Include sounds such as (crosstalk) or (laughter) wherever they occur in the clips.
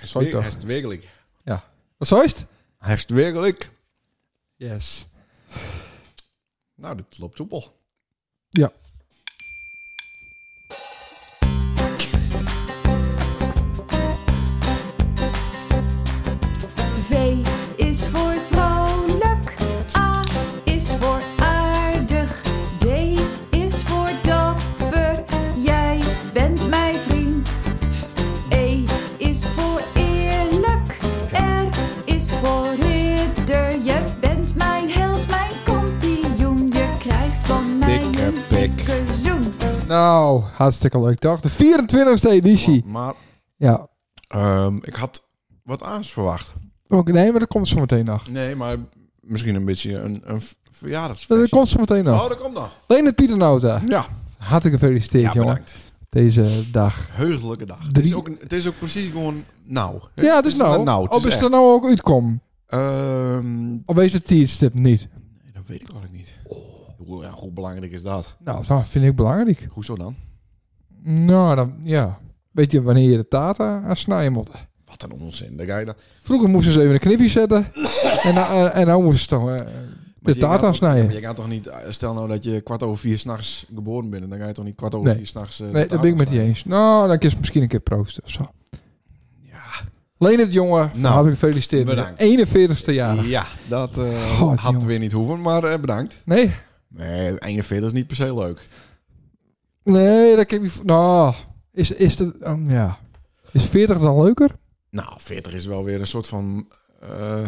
Hast Soll ich wir- doch. hast wirklich. Ja. Was heißt? Hast wirklich. Yes. Nou, dit loopt soepel. Ja. V is voor vrolijk. A is voor aardig. D is voor dapper. Jij bent mijn vriend. E is voor eerlijk. R is voor ridder. Je bent mijn held, mijn kampioen. Je krijgt van mij Dikke een pik. dikke zoen. Nou, hartstikke leuk toch? De 24e editie. Maar Ja. ehm, ik had wat aans verwacht. Oké, Nee, maar dat komt zo meteen nog. Nee, maar misschien een beetje een, een verjaardagsfeestje. Dat komt zo meteen Oh, nog. dat komt nog. Leonard Pieternauta. Ja, Hartelijk gefeliciteerd, Hm? ja jongen. bedankt. Deze dag. Heugelijke dag. Het Drie- is, ook, een- het is ook precies gewoon nou. Ja, het is nou. nou of het is is er echt. nou ook uitkom? Ehm, Of is het tijdstip niet? nee, dat weet ik eigenlijk niet. Oh. Hoe, ja, hoe belangrijk is dat? Nou, dat vind ik belangrijk. Hoezo dan? Nou, dan, ja. Weet je wanneer je de tata aan snijden moet? Wat een onzin. Daar ga je dan. Vroeger moesten ze even een knipje (coughs) zetten. en, nou- en, en nou moesten ze toch... eh, Maar de je gaat taart toch- aansnijden. maar Je gaat toch niet, eh, stel nou dat je kwart over vier s'nachts geboren bent, dan ga je toch niet kwart over Nee. vier s'nachts. eh, nee, dat ben ik met je eens. Nou, dan kun je misschien een keer proosten of zo. Ja, Leen het jongen, Nou, hartelijk gefeliciteerd. bedankt. Met je 41ste jaar. ja dat eh, God, had jongen. weer niet hoeven, maar eh, bedankt. Nee? Nee, 41 is niet per se leuk. Nee, dat kan ik niet... vo- Nou, is, is dat... ehm, ja. Is 40 dan leuker? (laughs) Nou, 40 is wel weer een soort van eh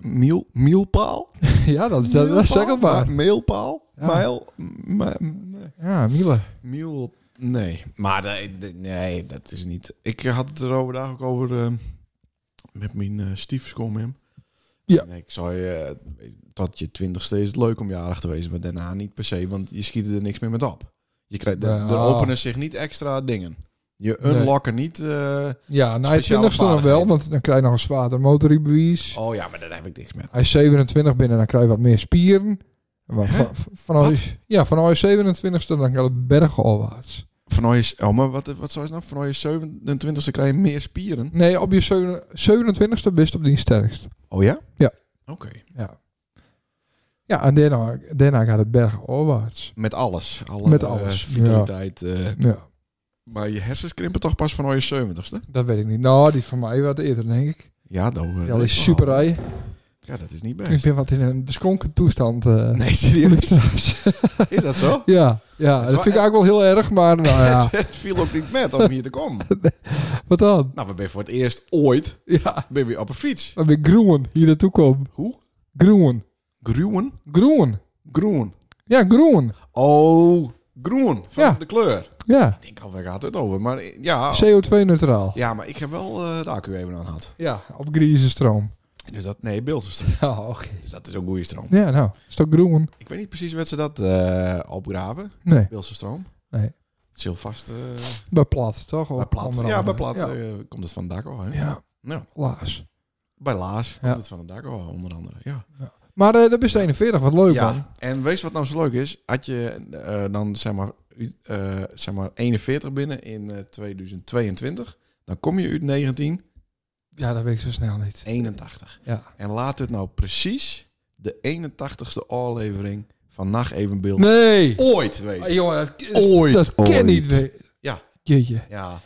miel, mielpaal. ja, dat, dat, dat zeg het maar. Meelpaal? Ja. Mijl? M- m- nee. Ja, Miele. Miel? Nee, maar de- de- nee, dat is niet. Ik eh, had het er overdag ook over eh, met mijn eh stiefskom hem. Ja. En ik zou je, eh, tot je twintigste is het leuk om jarig te wezen, maar daarna niet per se, want je schiet er niks meer met op. Je krijgt, er- er Ja. openen zich niet extra dingen. Je Nee. unlocken niet. eh, Ja, nou, na je Speciale 20ste dan wel, vaardigheden. want dan krijg je nog een zwaarder motorrijbewijs. oh ja, maar daar heb ik niks met. Als je 27 binnen, dan krijg je wat meer spieren. Maar van, van als, ja, van als je 27ste, dan kan het bergen alwaarts. Van ooit is, oh, maar wat, wat zou je nou? Van ooit is 27ste krijg je meer spieren. Nee, op je zeven- 27ste best op die sterkst. Oh ja? Ja. Oké. Ja. Ja, en daarna, daarna gaat het bergen alwaarts. Met alles. Alle, Met eh, alles, ja. vitaliteit. eh, Ja, Maar je hersens krimpen toch pas van je 70ste? dat weet ik niet. Nou, die is van mij wat eerder, denk ik. Ja, dat, eh, Ja, dat die is super rij. Oh, Ja, dat is niet Ik best. ben wat in een beschonken toestand. eh, Nee, serieus? is dat zo? (laughs) ja, ja, Het dat wa- vind ik eigenlijk wel heel erg, maar nou (laughs) ja, Het viel ook niet met om hier te (laughs) komen. wat dan? Nou, we zijn voor het eerst ooit Ja, ben weer op een fiets. dan ben ik groen hier naartoe kom. Hoe? Groen. Groen? Groen. Groen. Ja, groen. Oh, groen. Van Ja. de kleur. Ja, Ik denk al, waar gaat het over? Maar eh, ja, CO2-neutraal. ja maar ik heb wel eh, de accu even aan gehad. Ja, op grieze stroom. Dus dat, nee, beeld is Ja, oké. Dus dat is een goede stroom. Ja, nou, is toch groen? Ik weet niet precies wat ze dat eh, opgraven. Nee, Beeldse stroom. Nee. Het is heel vast. eh, bij plat, toch? Bij plat. Onder Ja, andere. bij plat Ja, eh, komt het van het dak al. Hè? Ja, Nou, laas. bij Laas Ja. komt het van het dak al, onder andere. Ja. Maar eh dat is 41, wat leuk man. ja. En wees wat nou zo leuk is, had je eh, dan zeg maar, u- eh, zeg maar 41 binnen in eh, 2022, dan kom je uit 1981. Ja, dat weet ik zo snel niet. Ja. En laat het nou precies de 81ste aflevering van Nacht Even Beeld Nee! ooit wezen. Ah, jongen, dat, dat, Ooit, dat kan ooit. niet. we- Ja. Jeetje. Ja.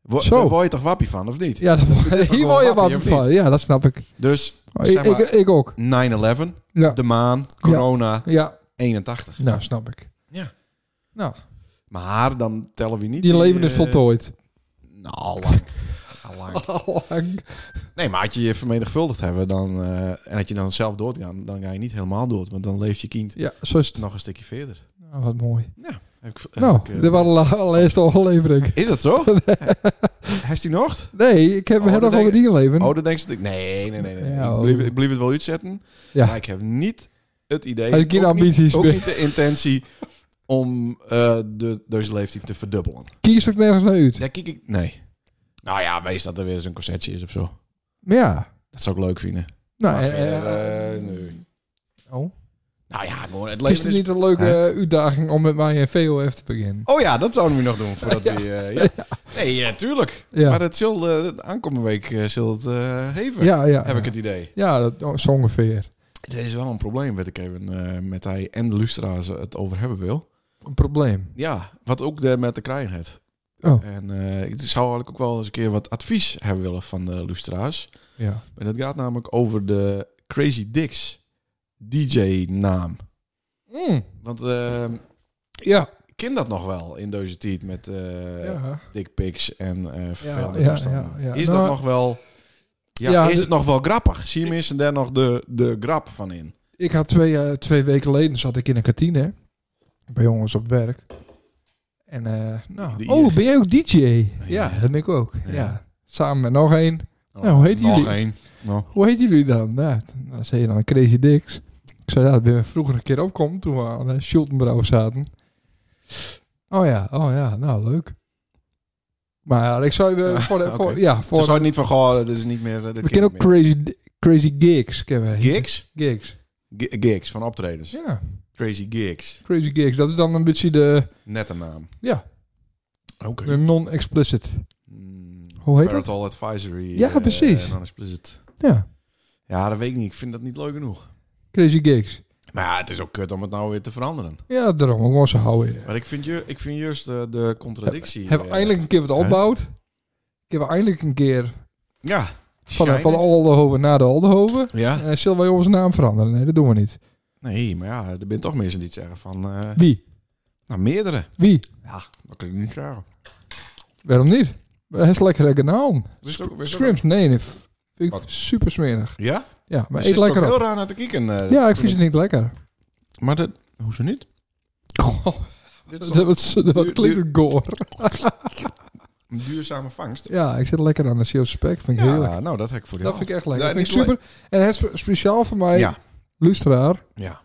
Wo Zo. Daar word je toch wappie van, of niet? (laughs) Ja, dat, hier wel word wappie, je wat of van. Ja, dat snap ik. Dus Oh, Zeg ik, ik, maar- ik ook. 9-11, Ja. de maan, corona, ja, 81. nou snap ik. Maar dan tellen we niet... Je leven dus is eh, voltooid. Nou, al lang. Al (laughs) lang. Allang. (laughs) Nee, maar had je je vermenigvuldigd hebben dan, eh, en had je dan zelf doodgaan, dan ga je niet helemaal dood. Want dan leeft je kind Ja, zo is het. nog een stukje verder. Nou, wat mooi. Heb ik- heb ik, Nou, eh, dit was de la- allereerste aflevering. (laughs) Is dat (laughs) zo? Heeft hij nog? Nee, ik heb Oh, het dat nog over denk die leven. Oh, dan denk je dat ik... Nee, nee, nee. nee. Ja, oh. ik, bleef, ik bleef het wel uitzetten. Ja. Maar ik heb niet het idee... Had je geen ook niet- ambities Ook meer? niet de intentie om eh, de, deze leeftijd te verdubbelen. Kies ook nergens naar uit. Daar kijk ik... Nee. Nou ja, wees dat er weer eens een concertje is of zo. Maar ja. Dat zou ik leuk vinden. Nou, Maar eh, verder, eh, eh, nee. Oh. Nou ja, gewoon, het Is leven het is... niet een leuke eh, uitdaging om met mij en VOF te beginnen? Oh ja, dat zouden we nog doen (laughs) voordat we... eh, ja. Nee, eh, tuurlijk. Ja. Maar dat zult, eh, de aankomende week eh, zult het eh heven, Ja, ja. heb ik het idee. Ja, dat, oh, zo ongeveer. Dit is wel een probleem, weet ik even, eh, met hij en de lustra's het over hebben wil. Een probleem. Ja, wat ook de, met de kraaien het. Oh. En eh, ik zou eigenlijk ook wel eens een keer wat advies hebben willen van de lustra's. Ja. En dat gaat namelijk over de Crazy Dicks DJ-naam. Mm, Want eh, ja. ik ken dat nog wel in deze tijd met eh ja. dickpics en eh vervelende ja, toestanden. ja, ja. Is Nou, dat nog wel... Ja, ja, is de- het nog wel grappig? Zie je mensen daar nog de, de grap van in? Ik had twee, eh, twee weken geleden zat ik in een kantine. Bij jongens op werk. En eh, nou, De oh, IR. ben jij ook DJ? Ja, Ja. dat ben ik ook. Ja. Ja. Samen met nog één. Nou, hoe heet nog jullie? één. Nou, Hoe heet jullie dan? Nou, dan zei je dan Crazy Dicks. Ik zei, ja, dat ben ik vroeger een keer opkomen toen we aan de Schultenbrouw zaten. Oh ja, oh ja, nou leuk. Maar ja, ik zou je Ah, voor, de, voor oké. ja, Ze voor zou niet van, goh, dit is niet meer... eh, Dit we ken ik kennen ook meer. Crazy Crazy Gigs, kennen we. Gigs? Gigs. G- gigs, van optredens. Ja, Crazy Gigs. Crazy Gigs. Dat is dan een beetje de Net een naam. ja, Oké. de non-explicit. Mm, Hoe heet dat? Parental Advisory. Ja, eh, precies. en dan is het- Ja, Ja, dat weet ik niet. Ik vind dat niet leuk genoeg. Crazy Gigs. Maar ja, het is ook kut om het nou weer te veranderen. Ja, daarom gewoon zo houden. Maar ik vind, ju ik vind juist de, de contradictie... Hebben we eh, eindelijk een keer wat opbouwd. Ik heb eindelijk een keer Ja. van, van shiny. Aldehoven naar de Aldehoven. Ja. Eh, zullen wij onze naam veranderen? Nee, dat doen we niet. Nee, maar ja, er zijn toch mensen die het zeggen van... eh, Wie? nou, meerdere. Wie? Ja, dat kan ik niet zeggen. Waarom niet? Hij is lekker gedaan. Dus het ook- is het ook- Shrimps, nee, nee. f- Vind ik Wat? super smerig. Ja? Ja, Dus maar eet is het ook lekker heel op. raar naar te kijken. eh, Ja, ik toen vind het niet lekker. Maar dat... Hoezo niet? Goh, Dit is (laughs) dat, was- dat Nu- was- klinkt een goor. een duurzame vangst. Ja, ik zit lekker aan de seal spek. Vind ik heerlijk. Ja, nou, dat heb ik voor jou. Dat vind ik echt lekker. Ja, Dat vind ik niet super. En het is voor- speciaal voor mij, Ja, luisteraar, ja.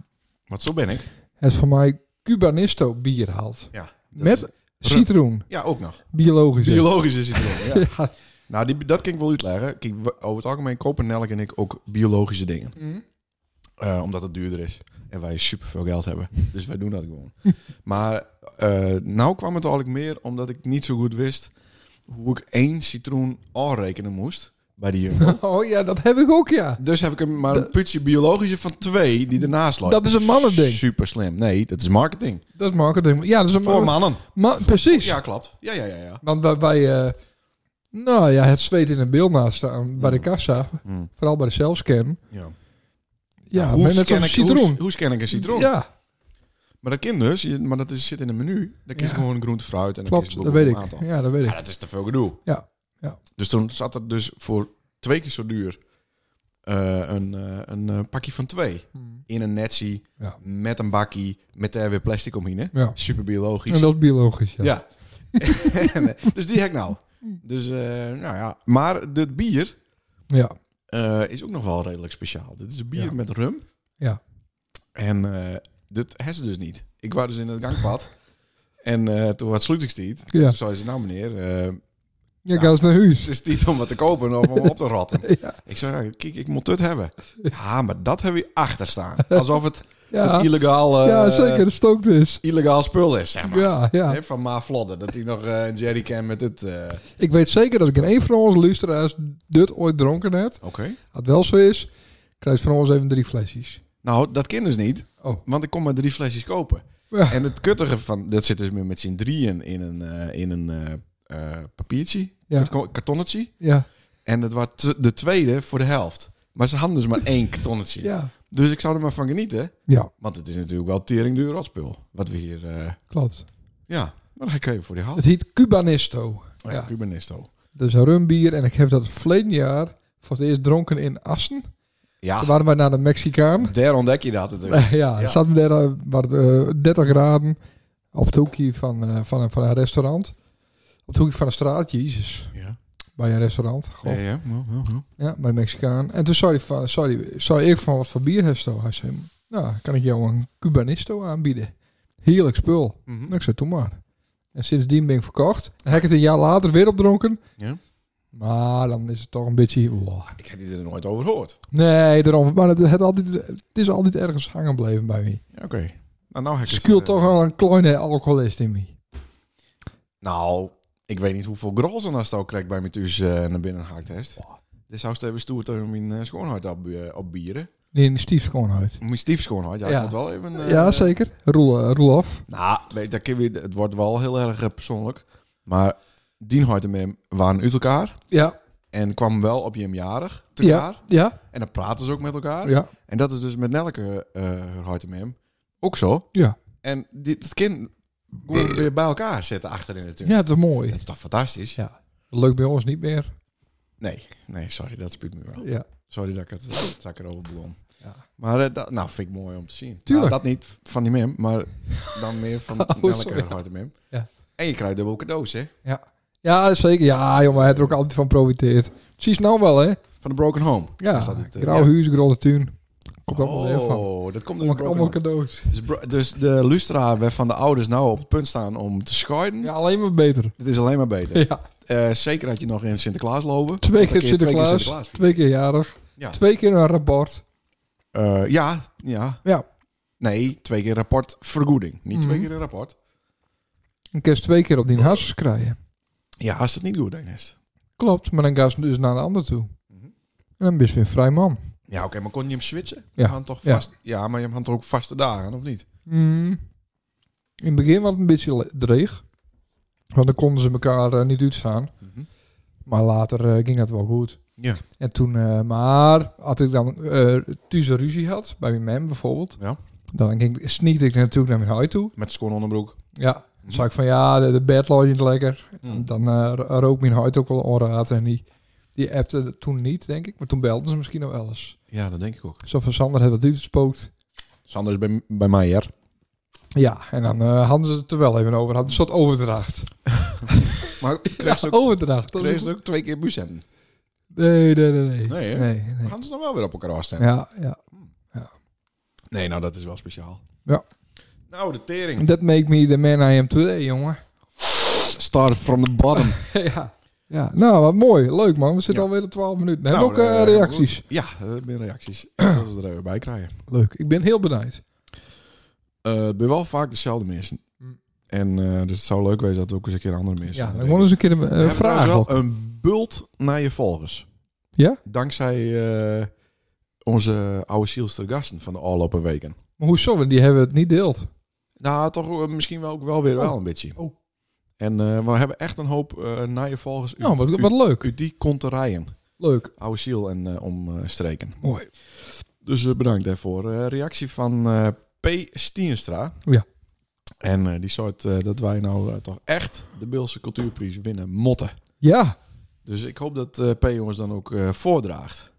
Want zo ben ik. het is voor mij Cubanisto bier haalt. Ja. dat Met is- citroen. ja, ook nog. Biologisch. Biologisch is het wel, ja. (laughs) Ja. Nou, die, dat kan ik wel uitleggen. Kijk, we- over het algemeen kopen Nelk en ik ook biologische dingen. Mhm. Eh, omdat het duurder is. En wij superveel geld (laughs) hebben. Dus wij doen dat gewoon. maar eh nou kwam het eigenlijk meer omdat ik niet zo goed wist... hoe ik één citroen aanrekenen moest bij die jongen. (laughs) Oh ja, dat heb ik ook, ja. dus heb ik hem maar een putje biologische van twee die ernaast lag. Dat is een mannending. Super slim. Nee, dat is marketing. Dat is marketing. Ja, dat is een Voor mannen. Ma- precies. Ja, klopt. Ja, ja, ja. ja. Want wij, wij, eh, nou ja, het zweet in een beeld naast staan bij de Mm. kassa, Mm. vooral bij de zelfscan. ja. Ja, Nou, hoe, met scan net zo'n ik, citroen. Hoe, hoe scan ik een citroen? Ja, Maar dat kan dus, je- maar dat is, zit in een menu. Dan kies je Ja. gewoon groente, fruit en dan kies je klopt, dat weet een ik. aantal. Ja. Ja, dat weet ik. dat is te veel gedoe. Ja, ja. Dus toen zat er dus voor twee keer zo duur eh, een, eh, een eh, pakje van twee. Mm. In een netsie, Ja. met een bakkie, met daar weer plastic omheen. hè? Ja. Super biologisch. En dat is biologisch, (laughs) ja. Ja. En, eh, dus die heb ik nou. Dus, eh, nou ja. Maar dit bier Ja. eh, is ook nog wel redelijk speciaal. Dit is een bier Ja. met rum. Ja. En eh, dit hebben ze dus niet. Ik was dus in het (laughs) gangpad. en eh, toen had sluit ik het niet. Ja. Toen zei ze, nou meneer, eh, Ja, ga eens naar huis. het is niet om wat te kopen of om op te rotten. (laughs) Ja. Ik zei, nou, kijk, ik moet dit (laughs) hebben. Ja, maar dat heb je achter staan. Alsof het, Ja, het illegaal, eh, ja zeker, dat stookt is. illegaal spul is, zeg maar. Ja, ja. Hè, Van Ma Vlodder, dat hij nog eh, een jerrycan met het... eh, Ik weet zeker dat ik in een van onze luisteraars dit ooit dronken heb. Oké. Als het wel zo is, krijgt van ons even drie flesjes. Nou, dat kan dus niet, Oh. want ik kon maar drie flesjes kopen. Ja. En het kuttige van, dat zit dus meer met z'n drieën in een, eh, in een eh, eh, papiertje, Ja. karton- kartonnetje. Ja, En dat was t- de tweede voor de helft. Maar ze hadden dus maar één kartonnetje. ja. Dus ik zou er maar van genieten, Ja, want het is natuurlijk wel tering duur rotspul. Wat we hier, eh, klopt. ja, maar dat ga ik even voor die hand. Het heet Cubanisto. Ja. ja. Cubanisto. Dat is een rumbier. En ik heb dat verleden jaar voor het eerst dronken in Assen. Toen Ja, waren wij naar de Mexicaan. daar ontdek je dat natuurlijk. Ah. (laughs) ja, het zat me daar eh, wat, eh, 30 graden op het hoekje van, eh, van, een- van een restaurant. Op het hoekje van een straat, jezus. Ja, Bij een restaurant, ja, goh. ja. ja, ja, ja. Ja, bij een Mexicaan. En toen zei hij van, sorry, zou ik van wat voor bier hebben? zo? Hij zei, nou, kan ik jou een Cubanisto aanbieden? Heerlijk spul. Mhm. Nou, ik zei, doe maar. En sindsdien ben ik verkocht. En heb ik het een jaar later weer opdronken. Ja. Maar dan is het toch een beetje... wow. Ik heb die er nooit over gehoord. Nee, daarom. Maar het, het, altijd, het is altijd ergens hangen blijven bij mij. Ja, Oké. Nou, nou heb ik het, Skuilt eh, toch wel een kleine alcoholist in mij. Nou, ik weet niet hoeveel grolzen als het al krijgt bij me thuis eh, naar binnen hard heeft. Dus zou het even stoer tegen mijn eh, schoonheid op, eh, op bieren. Die in stief schoonheid. Mijn stief schoonheid, ja, Ja. ik moet wel even... eh, ja, zeker. Roel, eh, roel af. Nou, weet, dat kun je, het wordt wel heel erg eh, persoonlijk. Maar Dien Hoyt en Mim waren uit elkaar. Ja, En kwamen wel op je jarig te elkaar. ja, En dan praten ze ook met elkaar. ja. En dat is dus met Nelke eh Hoyt en Mim ook zo. Ja. En dit, het kind gewoon weer bij elkaar zetten achterin natuurlijk. Ja, dat is mooi. Dat is toch fantastisch? Ja. Leuk bij ons niet meer. Nee, nee, sorry, dat spuurt me wel. Ja. Sorry dat ik, het, dat ik erover begon. Ja. Maar eh, dat, nou, vind ik mooi om te zien. Tuurlijk. Nou, dat niet van die mem, maar dan meer van (laughs) Oh, sorry. Nelke Hoyt en Mim. Ja. En je krijgt dubbel cadeaus, hè? Ja, zeker. Ja, jongen, hij heeft er ook altijd van profiteerd. Precies nou wel, hè? Van de Broken Home. Ja, Is dat het, eh, grauw ja. huis, grote tuin. Komt allemaal weer van. Oh, dat komt door de Allemaal, Broken allemaal Home. cadeaus. Dus, bro- dus de Lustra waar van de ouders nou op het punt staan om te scheiden. Ja, alleen maar beter. Het is alleen maar beter. Ja, Eh, zeker dat je nog in Sinterklaas lopen. twee Een keer Twee keer Sinterklaas, Sinterklaas. twee keer jarig, Ja. twee keer een rapport. Eh, ja, ja. Ja. Nee, twee keer rapport vergoeding. Niet twee Mhm. keer een rapport. Een kerst twee keer op die hasses krijgen. Ja, als het niet goed is. Klopt, maar dan gaan ze dus naar de ander toe. Mhm. En dan ben je weer een vrij man. Ja, oké, maar kon je hem switchen? Ja. Je had toch Ja. vast, ja. maar je had toch ook vaste dagen, of niet? Mm. In het begin was het een beetje le- dreig. Want dan konden ze elkaar eh, niet uitstaan. Mhm. Maar later eh, ging dat wel goed. Ja. En toen, eh, maar had ik dan eh thuis een ruzie had, bij mijn mem bijvoorbeeld. Ja. Dan ging, sneakte ik natuurlijk naar mijn huis toe. Met schoon onderbroek. Ja. Dan zei ik van ja, de, de bed lag niet lekker. Mhm. Dan eh, ro- rook mijn huid ook wel onraad. En die, die appte toen niet, denk ik. Maar toen belden ze misschien nog wel eens. Ja, dat denk ik ook. Zo van Sander heeft wat uitgespookt. Sander is bij, bij mij, hè? Ja, en dan eh, hadden ze het er wel even over. Hadden een soort overdracht. (laughs) Maar kreeg ze ook, overdracht. dat kreeg is- ze ook twee keer bucenten. Nee, nee, nee. Nee, Nee, hè? nee, nee. Gaan ze dan wel weer op elkaar afstemmen? Ja, ja. Nee, nou dat is wel speciaal. Ja. Nou, de tering. That make me the man I am today, jongen. Start from the bottom. ja. ja. Nou, wat mooi. Leuk, man. We zitten Ja. alweer op 12 minuten. We Nou, hebben ook eh, eh, reacties. Ja, eh, meer reacties. (clears throat) Als we er even bij krijgen. Leuk. Ik ben heel benieuwd. Eh ben wel vaak dezelfde mensen. Hm. En eh, dus het zou leuk zijn dat we ook eens een keer andere mensen. Ja, hadden. dan gewoon eens een keer een eh, We hebben vraag. trouwens op. wel een bult naar je volgers. Ja? Dankzij eh, onze oude zielster gasten van de afgelopen weken. Maar hoezo? Want die hebben het niet deeld. Nou, toch eh, misschien wel ook wel weer Oh. wel een beetje. Oh. En eh, we hebben echt een hoop eh naar je volgers. U- Nou, wat, u- wat leuk. u die konterijen. Leuk. Oude ziel en eh, omstreken. Mooi. Dus eh, bedankt daarvoor. Eh, reactie van eh, P. Stienstra. Oh, Ja. En eh, die soort eh, dat wij nou eh, toch echt de Beelse Cultuurprijs winnen motten. Ja. Dus ik hoop dat eh, P. ons dan ook eh, voordraagt.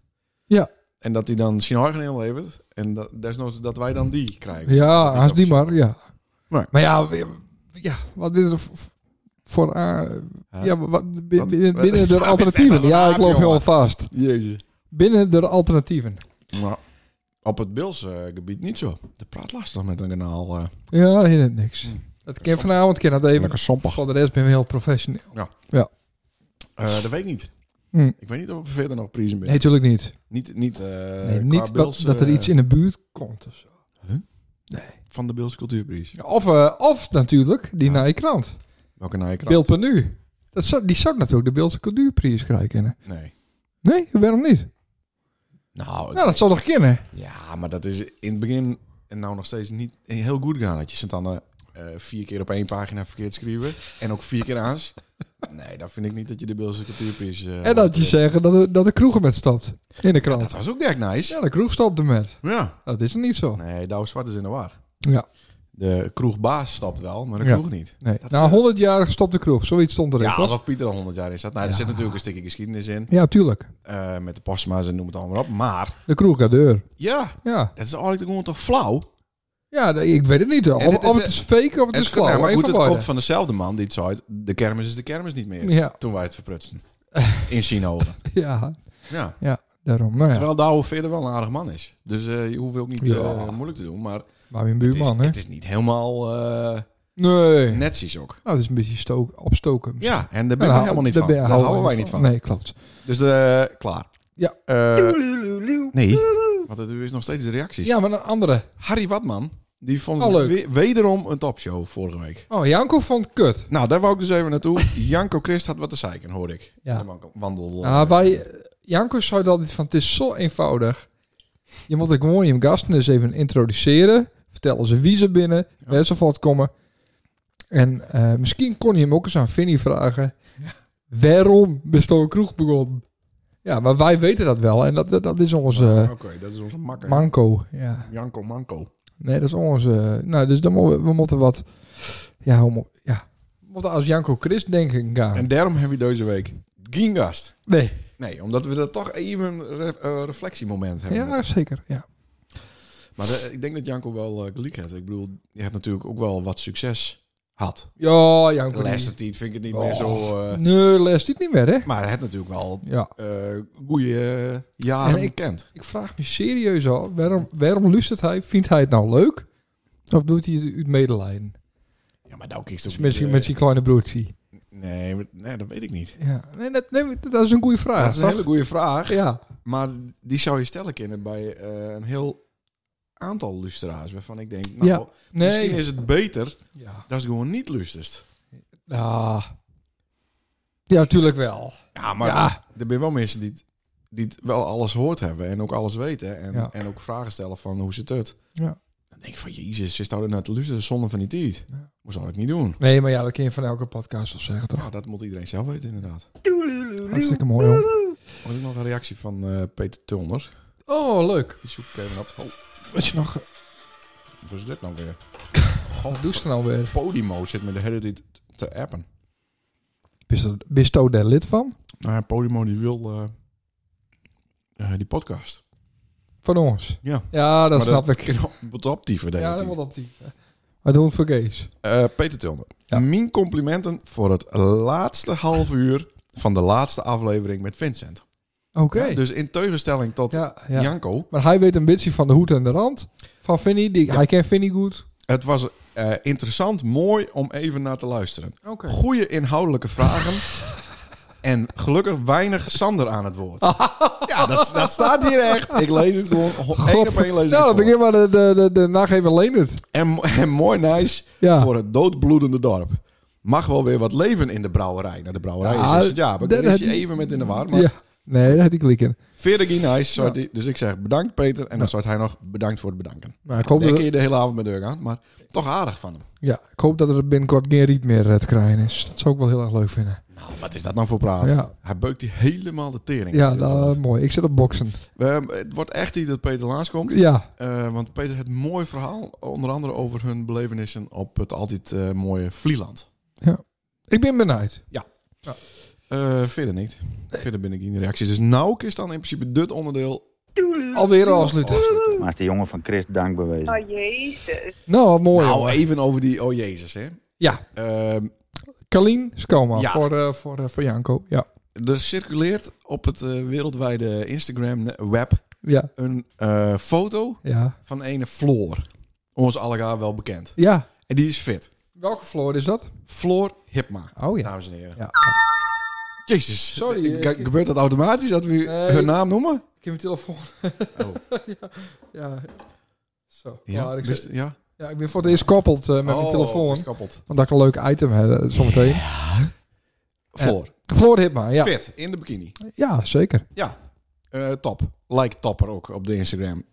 Ja. En dat hij dan zijn eigen inlevert. En dat, desnoods dat wij dan die krijgen. Ja, Dat is haast die niet maar. Ja. Maar- Maar ja, we- ja wat is er v- voor... eh, Huh? ja, wat, binnen, Wat- (laughs) binnen wat- de alternatieven. Ja, ik loop jongen. heel vast. Jezus. Binnen de alternatieven. Maar op het Beelse eh, gebied niet zo. De praat lastig met een kanaal. eh Ja, hier net niks. Hm. Dat ken vanavond, ken dat even. lekker sompig. Voor de rest ben ik heel professioneel. Eh, dat weet ik niet. Hm. Ik weet niet of we verder nog prijzen Nee, binnen. natuurlijk niet. Niet, niet, eh, Nee, qua niet dat, Beelse, dat er eh, iets in de buurt komt of zo. Van de Beelse Cultuurprijs. Of, eh, of natuurlijk die Ja. naar je krant. Welke naar je krant? Beeld.nu. Dat zou, die zou ik natuurlijk de Beeldse cultuurprijs krijgen. Nee. Nee, waarom niet? Nou, Nou, dat zou toch kennen? Oh, ja, maar dat is in het begin en nou nog steeds niet heel goed gaan. Dat je sint Anne eh, vier keer op één pagina verkeerd schreeuwen en ook vier keer (laughs) aans. Nee, dat vind ik niet dat je de Beelse cultuurprijs... eh, en dat je hoort. zeggen dat de, dat de kroeg met stopt. In de krant. Dat Ja, was ook echt nice. de kroeg stopt met. Ja. Dat is niet zo. Nee, Douwe Zwart is in de war. Ja. De kroegbaas stapt wel, maar de Ja. kroeg niet. Nee. Dat Na is- eh, 100 jaar stopt de kroeg. Zoiets stond erin, Ja, toch? alsof Pieter al 100 jaar is. Nou, er Ja. zit natuurlijk een stukje geschiedenis in. Ja, tuurlijk. eh, met de postma's en noem het allemaal op. Maar De kroeg gaat deur. ja, Ja. dat is eigenlijk gewoon toch flauw? Ja, de- ik weet het niet. Of, En het is of de- het is fake of het is Het- nou, flauw. maar Eén goed, van het beide. komt van dezelfde man die het zei, de kermis is de kermis niet meer. Ja, (laughs) Toen wij het verprutsten. In Sinolen. ja, Ja. daarom. Nou ja, Terwijl Douwe verder wel een aardig man is. Dus eh, je hoeft ook niet Ja. eh, moeilijk te doen. Maar maar weer een het is, buurman, hè? het is niet helemaal eh, Nee. Netjes ook. Nou, het is een beetje stook, opstoken. misschien. Ja, en daar Nou, ben ik nou, helemaal niet daar van. ben- Daar houden wij niet van. Nee, klopt. Dus de, klaar. Ja. Eh, nee, want het is nog steeds de reacties. Ja, maar een andere. Harry Watman, die vond Oh, leuk. we- wederom een topshow vorige week. Oh, Janko vond kut. Nou, daar wou ik dus even (laughs) naartoe. Janko Christ had wat te zeiken, hoor ik. Ja. In de wankel- wandel. eh, Nou, wij, Janko zei dat altijd van, het is zo eenvoudig. Je moet ook gewoon je gasten eens even introduceren. Vertellen ze wie ze binnen, waar ze van komen. En eh, misschien kon je hem ook eens aan Vinnie vragen. Waarom bist een kroeg begonnen? Ja, maar wij weten dat wel. En dat, dat, dat is onze Oké, eh, dat is onze makker. manco. Ja. Janko Manko. Nee, dat is onze... Nou, dus dan mo- we, moeten wat... Ja, hoe mo- ja. We moeten als Janko Christ denken gaan. En daarom hebben we deze week geen gast. Nee. Nee, omdat we dat toch even een re- eh, reflectiemoment hebben. Ja, zeker. Ja. Maar de- ik denk dat Janko wel eh, gelijk heeft. Ik bedoel, je hebt natuurlijk ook wel wat succes had. Ja, Janko. De die- laatste tijd vind ik het niet Oh. meer zo... eh, Nee, les dit niet meer, hè? maar hij heeft natuurlijk wel Ja. eh goede eh, jaren En ik- bekend. Ik vraag me serieus al, waarom, waarom luistert hij? Vindt hij het nou leuk? Of doet hij het uit medelijden? Ja, maar nou kiest Dus ook met, niet, zijn- eh, met zijn kleine broertje. nee, maar- nee, dat weet ik niet. Ja, nee, dat, nee, dat is een goede vraag. dat is een Ah, toch? hele goede vraag. Ja, Maar die zou je stellen kunnen bij eh, een heel aantal lustra's. Waarvan ik denk, nou, Ja, nee. misschien is het beter Ja, dat ze gewoon niet luistert. ah. ja natuurlijk wel. Ja, maar ja, er zijn wel mensen die, het- die het wel alles hoort hebben en ook alles weten. En, Ja. en ook vragen stellen van hoe zit het? Ja. Dan denk ik van, jezus, ze staan er naar te luisteren zonder van die tijd. Ja. Moest dat ik niet doen. nee, maar ja, dat kun je van elke podcast wel zeggen, toch? Nou, dat moet iedereen zelf weten inderdaad. Hartstikke mooi, hoor. Was ook nog een reactie van eh, Peter Tulner. Oh, leuk. Die zoek ik even op. Oh, Wat je nog... wat is dit nou weer? Wat doe je er nou weer? Podimo zit me de hele tijd te appen. Bist er- Bist je daar lid van? Nou ja, Podimo die wil eh, eh, die podcast. Van ons? Ja. Ja, dat Maar snap ik. Wat optieven, denk Ja, ik. dat wordt op die. Maar doen voor Kees. Eh, Peter Tilman. Ja. Mijn complimenten voor het laatste half uur van de laatste aflevering met Vincent. Oké. Ja, dus in tegenstelling tot Ja, ja. Janko, Maar hij weet een beetje van de hoed en de rand van Vinnie. Die, Ja. Hij kent Vinnie goed. het was eh, interessant, mooi om even naar te luisteren. Oké. Goede inhoudelijke (laughs) vragen. en gelukkig weinig Sander aan het (laughs) woord. ja, dat, dat staat hier echt. Ik lees het gewoon. ho- één op één lees ik het nou, dan voor. begin maar de, de, de, de nacht even Leendert. En, mo- en mooi nice Ja. voor het doodbloedende dorp. Mag wel weer wat leven in de brouwerij. Nou, de brouwerij Ja, is 60 jaar. maar daar Daar is had je hij- even met in de war. Maar Ja. Nee, daar had ik klik in. Verder geen nice. zou Ja. die- Dus ik zeg bedankt Peter. En dan zou hij nog bedankt voor het bedanken. Nou, ik, hoop Daar dat, kun je de hele avond met deur gaan. Maar toch aardig van hem. ja, ik hoop dat er binnenkort geen riet meer eh, te krijgen is. Dat zou ik wel heel erg leuk vinden. Nou, wat is dat nou voor praten? Ja, Hij beukt die helemaal de tering. ja Dit dat- is wat. mooi. Ik zit op boksen. Ehm, het wordt echt niet dat Peter laatst komt. Ja, Eh, want Peter heeft een mooi verhaal. Onder andere over hun belevenissen op het altijd eh, mooie Vlieland. ik ben benieuwd. Eh, verder niet. Verder ben ik in de reacties. Dus nou is dan in principe dit onderdeel. Oh, Alweer als Luther. afsluiten. Maar is de jongen van Christ dankbewezen. Oh jezus. Nou, mooi. Nou, hoor. even over die Oh Jezus, hè. Ja. Ehm, Kalien Skoma Ja. voor, eh, voor, eh, voor Janko. Ja. er circuleert op het eh, wereldwijde Instagram-web Ja. een eh, foto Ja. van ene Floor. Ons allegaar wel bekend. Ja. En die is fit. Welke floor is dat? Floor Hipma, Oh ja. dames en heren. Ja. Jezus. Sorry, Ge- eh, ik- Gebeurt dat automatisch dat we hun naam noemen? Ik heb mijn telefoon. Oh. ja, ja. Zo. Ja, Maar Oh, ik, best- zit- ja. ja, ik ben voor het eerst koppeld eh, met mijn Oh, telefoon. best kapot. Want ik een leuk item heb eh, zometeen. Floor. Floor Hitma, Eh, ja. Fit, in de bikini. Ja, zeker. Eh, top. Like topper ook op de Instagram.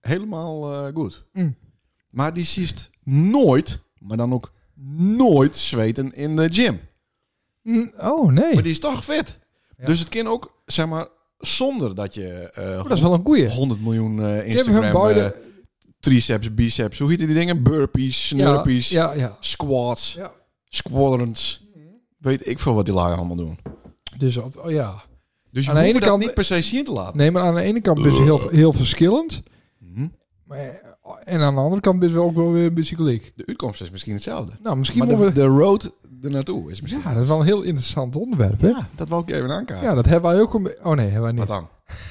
Helemaal eh, goed. Mm. Maar die ziet nooit, maar dan ook nooit zweten in de gym. Mm, oh, nee. Maar die is toch vet. Ja. Dus het kan ook, zeg maar, zonder dat je eh, Oh, dat is wel een goeie. 100 miljoen eh, Ik heb hun Instagram eh, beide... triceps, biceps, hoe heet die dingen? Burpees, snurpees, Ja, ja. squats, Ja. Mhm. squadrons. Weet ik veel wat die lui allemaal doen. Dus op, oh, ja. Dus je Aan de hoeft ene dat kant- niet per se zien te laten. Nee, maar aan de ene kant is het heel, heel verschillend. Hm? Maar, eh, en aan de andere kant is het ook wel weer een beetje gelijk. De uitkomst is misschien hetzelfde. Nou, misschien Maar moeten de, we... de road ernaartoe is misschien... Ja, dat is wel een heel interessant onderwerp, hè? Ja, Ja, dat wou ik even aankaarten. dat hebben wij ook... Een... be- Oh, nee, hebben wij wat niet. dan?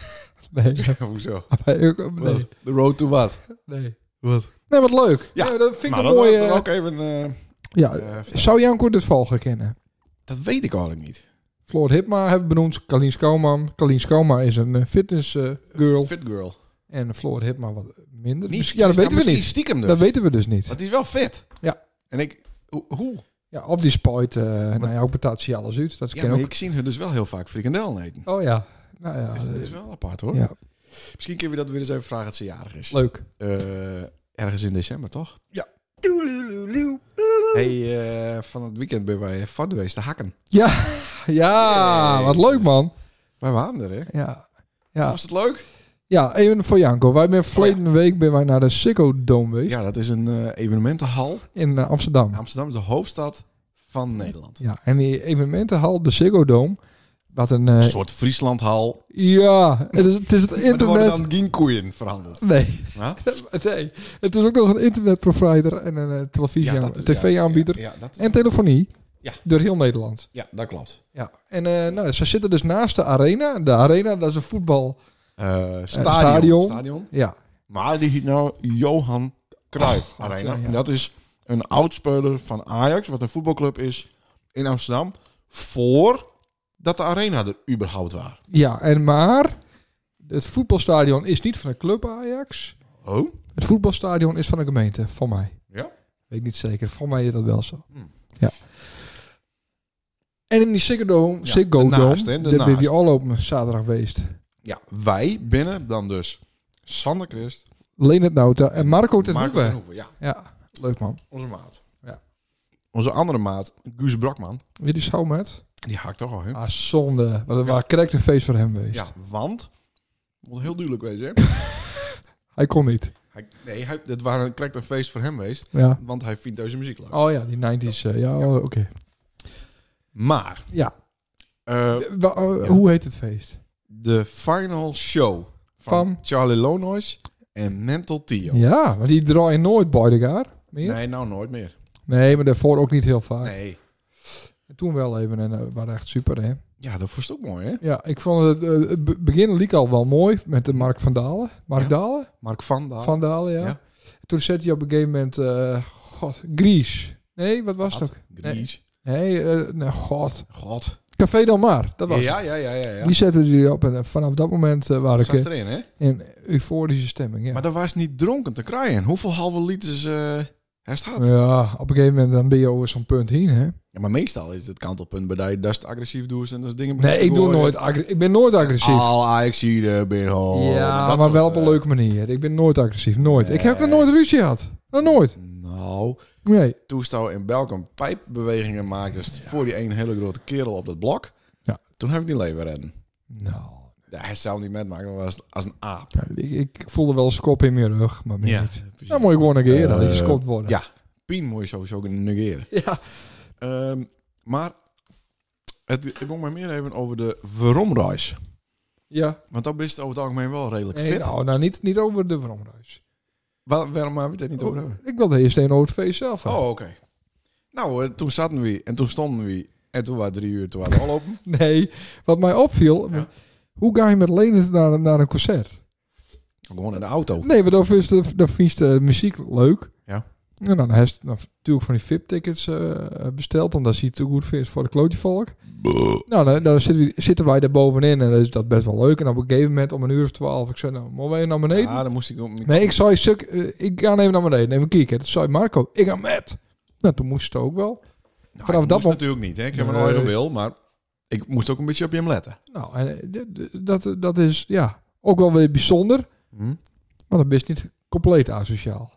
(laughs) Nee, dat Hoezo? (laughs) hebben wij ook... Nee. Wat? De road to what? Nee. Wat? Nee, wat leuk. Ja. Ja, dat vind ik Nou, een dat- mooie... dat wou ik even... eh, Ja, Eh, vertel. zou Janko dit volgen kennen? dat weet ik eigenlijk niet. Floor Hipma hebben we benoemd. Kalien Schouwman. Kalien Schouwman is een eh, fitnessgirl. Fit girl. en Floor Hipma wat minder. Niet, Misschien- ja, dat nou, weten we misschien niet. Stiekem dus. Dat weten we dus niet. Want die is wel fit. Ja. En ik... ho- Hoe? Ja, op die spuit, eh nou ja, ook betaalt ze alles uit. Dat Ja, ken maar ook. ik zie hun dus wel heel vaak frikandellen eten. Oh ja, nou ja. Dus dat eh, is wel apart hoor. ja. Misschien kunnen we dat weer eens even vragen als ze jarig is. Leuk. Eh, ergens in december, toch? Ja. Hey, eh, van het weekend ben je bij Fun geweest te hakken. Ja, wat leuk man. Wij waren er, hè? Ja. Ja. Was het leuk? ja, even voor Janko. Wij zijn verleden week ben wij naar de Sicko Dome geweest Oh, Ja, dat is een eh, evenementenhal. in eh, Amsterdam. Amsterdam is de hoofdstad van Nederland. Ja, en die evenementenhal, de Ziggo Dome, wat een... eh, Een soort Frieslandhal. ja, het is het, is het (laughs) Maar er worden internet... dan gienkoeien verhandeld. Nee, (laughs) Ja, nee, het is ook nog een internetprovider en een eh, televisie, dat is- tv-aanbieder Ja, ja, dat is- en telefonie Ja. door heel Nederland. ja, dat klopt. Ja, en eh, nou, ze zitten dus naast de arena. De arena, dat is een voetbal... Eh, stadion, stadion. stadion. Ja, Maar die heet nou Johan Cruijff God, Arena. ja, ja. En dat is een oudspeler van Ajax, wat een voetbalclub is in Amsterdam. Voordat de arena er überhaupt was. ja en maar het voetbalstadion is niet van de club Ajax. Oh? Het voetbalstadion is van de gemeente, van mij. Ja? Weet ik niet zeker. Voor mij is dat wel zo. Hmm. Ja. En in die Ziggo Dome, Ja, Ziggo daarnaast, Dome, hè, daar ben daarnaast. je al op zaterdag geweest. Ja, wij binnen dan dus Sander Christ. Leonard Nauta en Marco ten Marco ten Hoeven. Hoeven, Ja, Ja, leuk man. onze maat. Ja. Onze andere maat, Guus Brakman, Wie die zou met? die haakt toch al, hè? Ah, zonde. Wat een Ja. waar correct een feest voor hem geweest. Ja, want... Moet heel duidelijk wezen, hè? Hij kon niet. Hij, nee, hij, dit waren, krijgt een feest voor hem geweest. Ja. Want hij vindt deze muziek leuk. Oh ja, die 90s. eh, ja, oh, oké. Maar... Ja. eh, Eh, wa- eh, Ja. Hoe heet het feest? de final show van, Van? Charlie Lonois en Mental Tio. Ja, want die draaien nooit bij elkaar. Meer? Nee. Nee, nou nooit meer. maar daarvoor ook niet heel vaak. Nee. Toen wel even en eh, waren echt super, hè? Ja, dat was ook mooi, hè? Ja, ik vond het, eh, het be- begin liep al wel mooi met de Mark van Dalen. Mark Ja. Dalen? Mark van Daal. Van Dalen, ja. Ja. Toen zette hij op een gegeven moment, eh, god, Gries. Nee, wat was het ook? Dries. Nee, eh nou, god. God. Café Del Mar, dat was Ja, ja, ja, ja. ja. het. Die zetten die op en eh, vanaf dat moment eh waren Dat ik eh, zat erin, hè? in euforische stemming, ja. Maar dat was niet dronken te krijgen. Hoeveel halve liters eh hij staat? ja, op een gegeven moment dan ben je over zo'n punt heen, hè? Ja, maar meestal is het kantelpunt bij dat je dat agressief doet en dat dingen Nee, ik doe nooit aggra- ik ben nooit agressief. Al ah, Ajax hier ben ja, maar wel op een leuke manier. Ik ben nooit agressief, nooit. Ik heb nog eh, Nee. nooit ruzie gehad. Nog nooit. Nou, Nee. toestel in Belkom pijpbewegingen maakte voor die een hele grote kerel op dat blok. Ja. Toen heb ik die leven redden. Nou, Ja, hij zou hem niet metmaken, maar was als een aap. Ja, ik, ik voelde wel schop in mijn rug, maar meer niet. precies. Dan moet je gewoon negeren dat je Eh, geschopt wordt. ja. Pien moet je sowieso kunnen negeren. (laughs) Ja. Ehm, maar het ik ging maar meer even over de veromreis. ja. Want dat is het over het algemeen wel redelijk Nee, fit. nou, nou niet, niet over de Vromruis. Wa- waarom hebben we het dit niet over? hebben? Ik wilde eerst een over het feest zelf. hebben. (laughs) Oh, oké. Nou, eh, toen zaten we en toen stonden we. En toen waren drie uur, toen waren we al open. Nee, wat mij opviel... Ja. Hoe ga je met Lenert naar, naar een concert? Gewoon in de auto. Nee, maar dan vind je de, dan vind je de muziek leuk. Ja. En dan heb je dan natuurlijk van die VIP-tickets eh, besteld. Omdat ze het te goed vindt voor de klootjevolk. Nou, dan, dan zitten, we- zitten wij daar bovenin. En dan is dat best wel leuk. En op een gegeven moment om een uur of twaalf... Ik zei, nou, mogen wij naar beneden? Ah, dan moest ik... ook- Nee, ik zei, stuk, eh, ik ga even naar beneden, even kijken. Toen zei Marco, ik ga met. Nou, toen moest het ook wel. Nou, Vanaf ik dat moest moment- natuurlijk niet. Hè? Ik heb Nee. mijn eigen wil, maar ik moest ook een beetje op je hem letten. Nou, en eh, dit- dit- dat, dat is ja, ook wel weer bijzonder, Hm? maar dat is niet (laughs) compleet asociaal.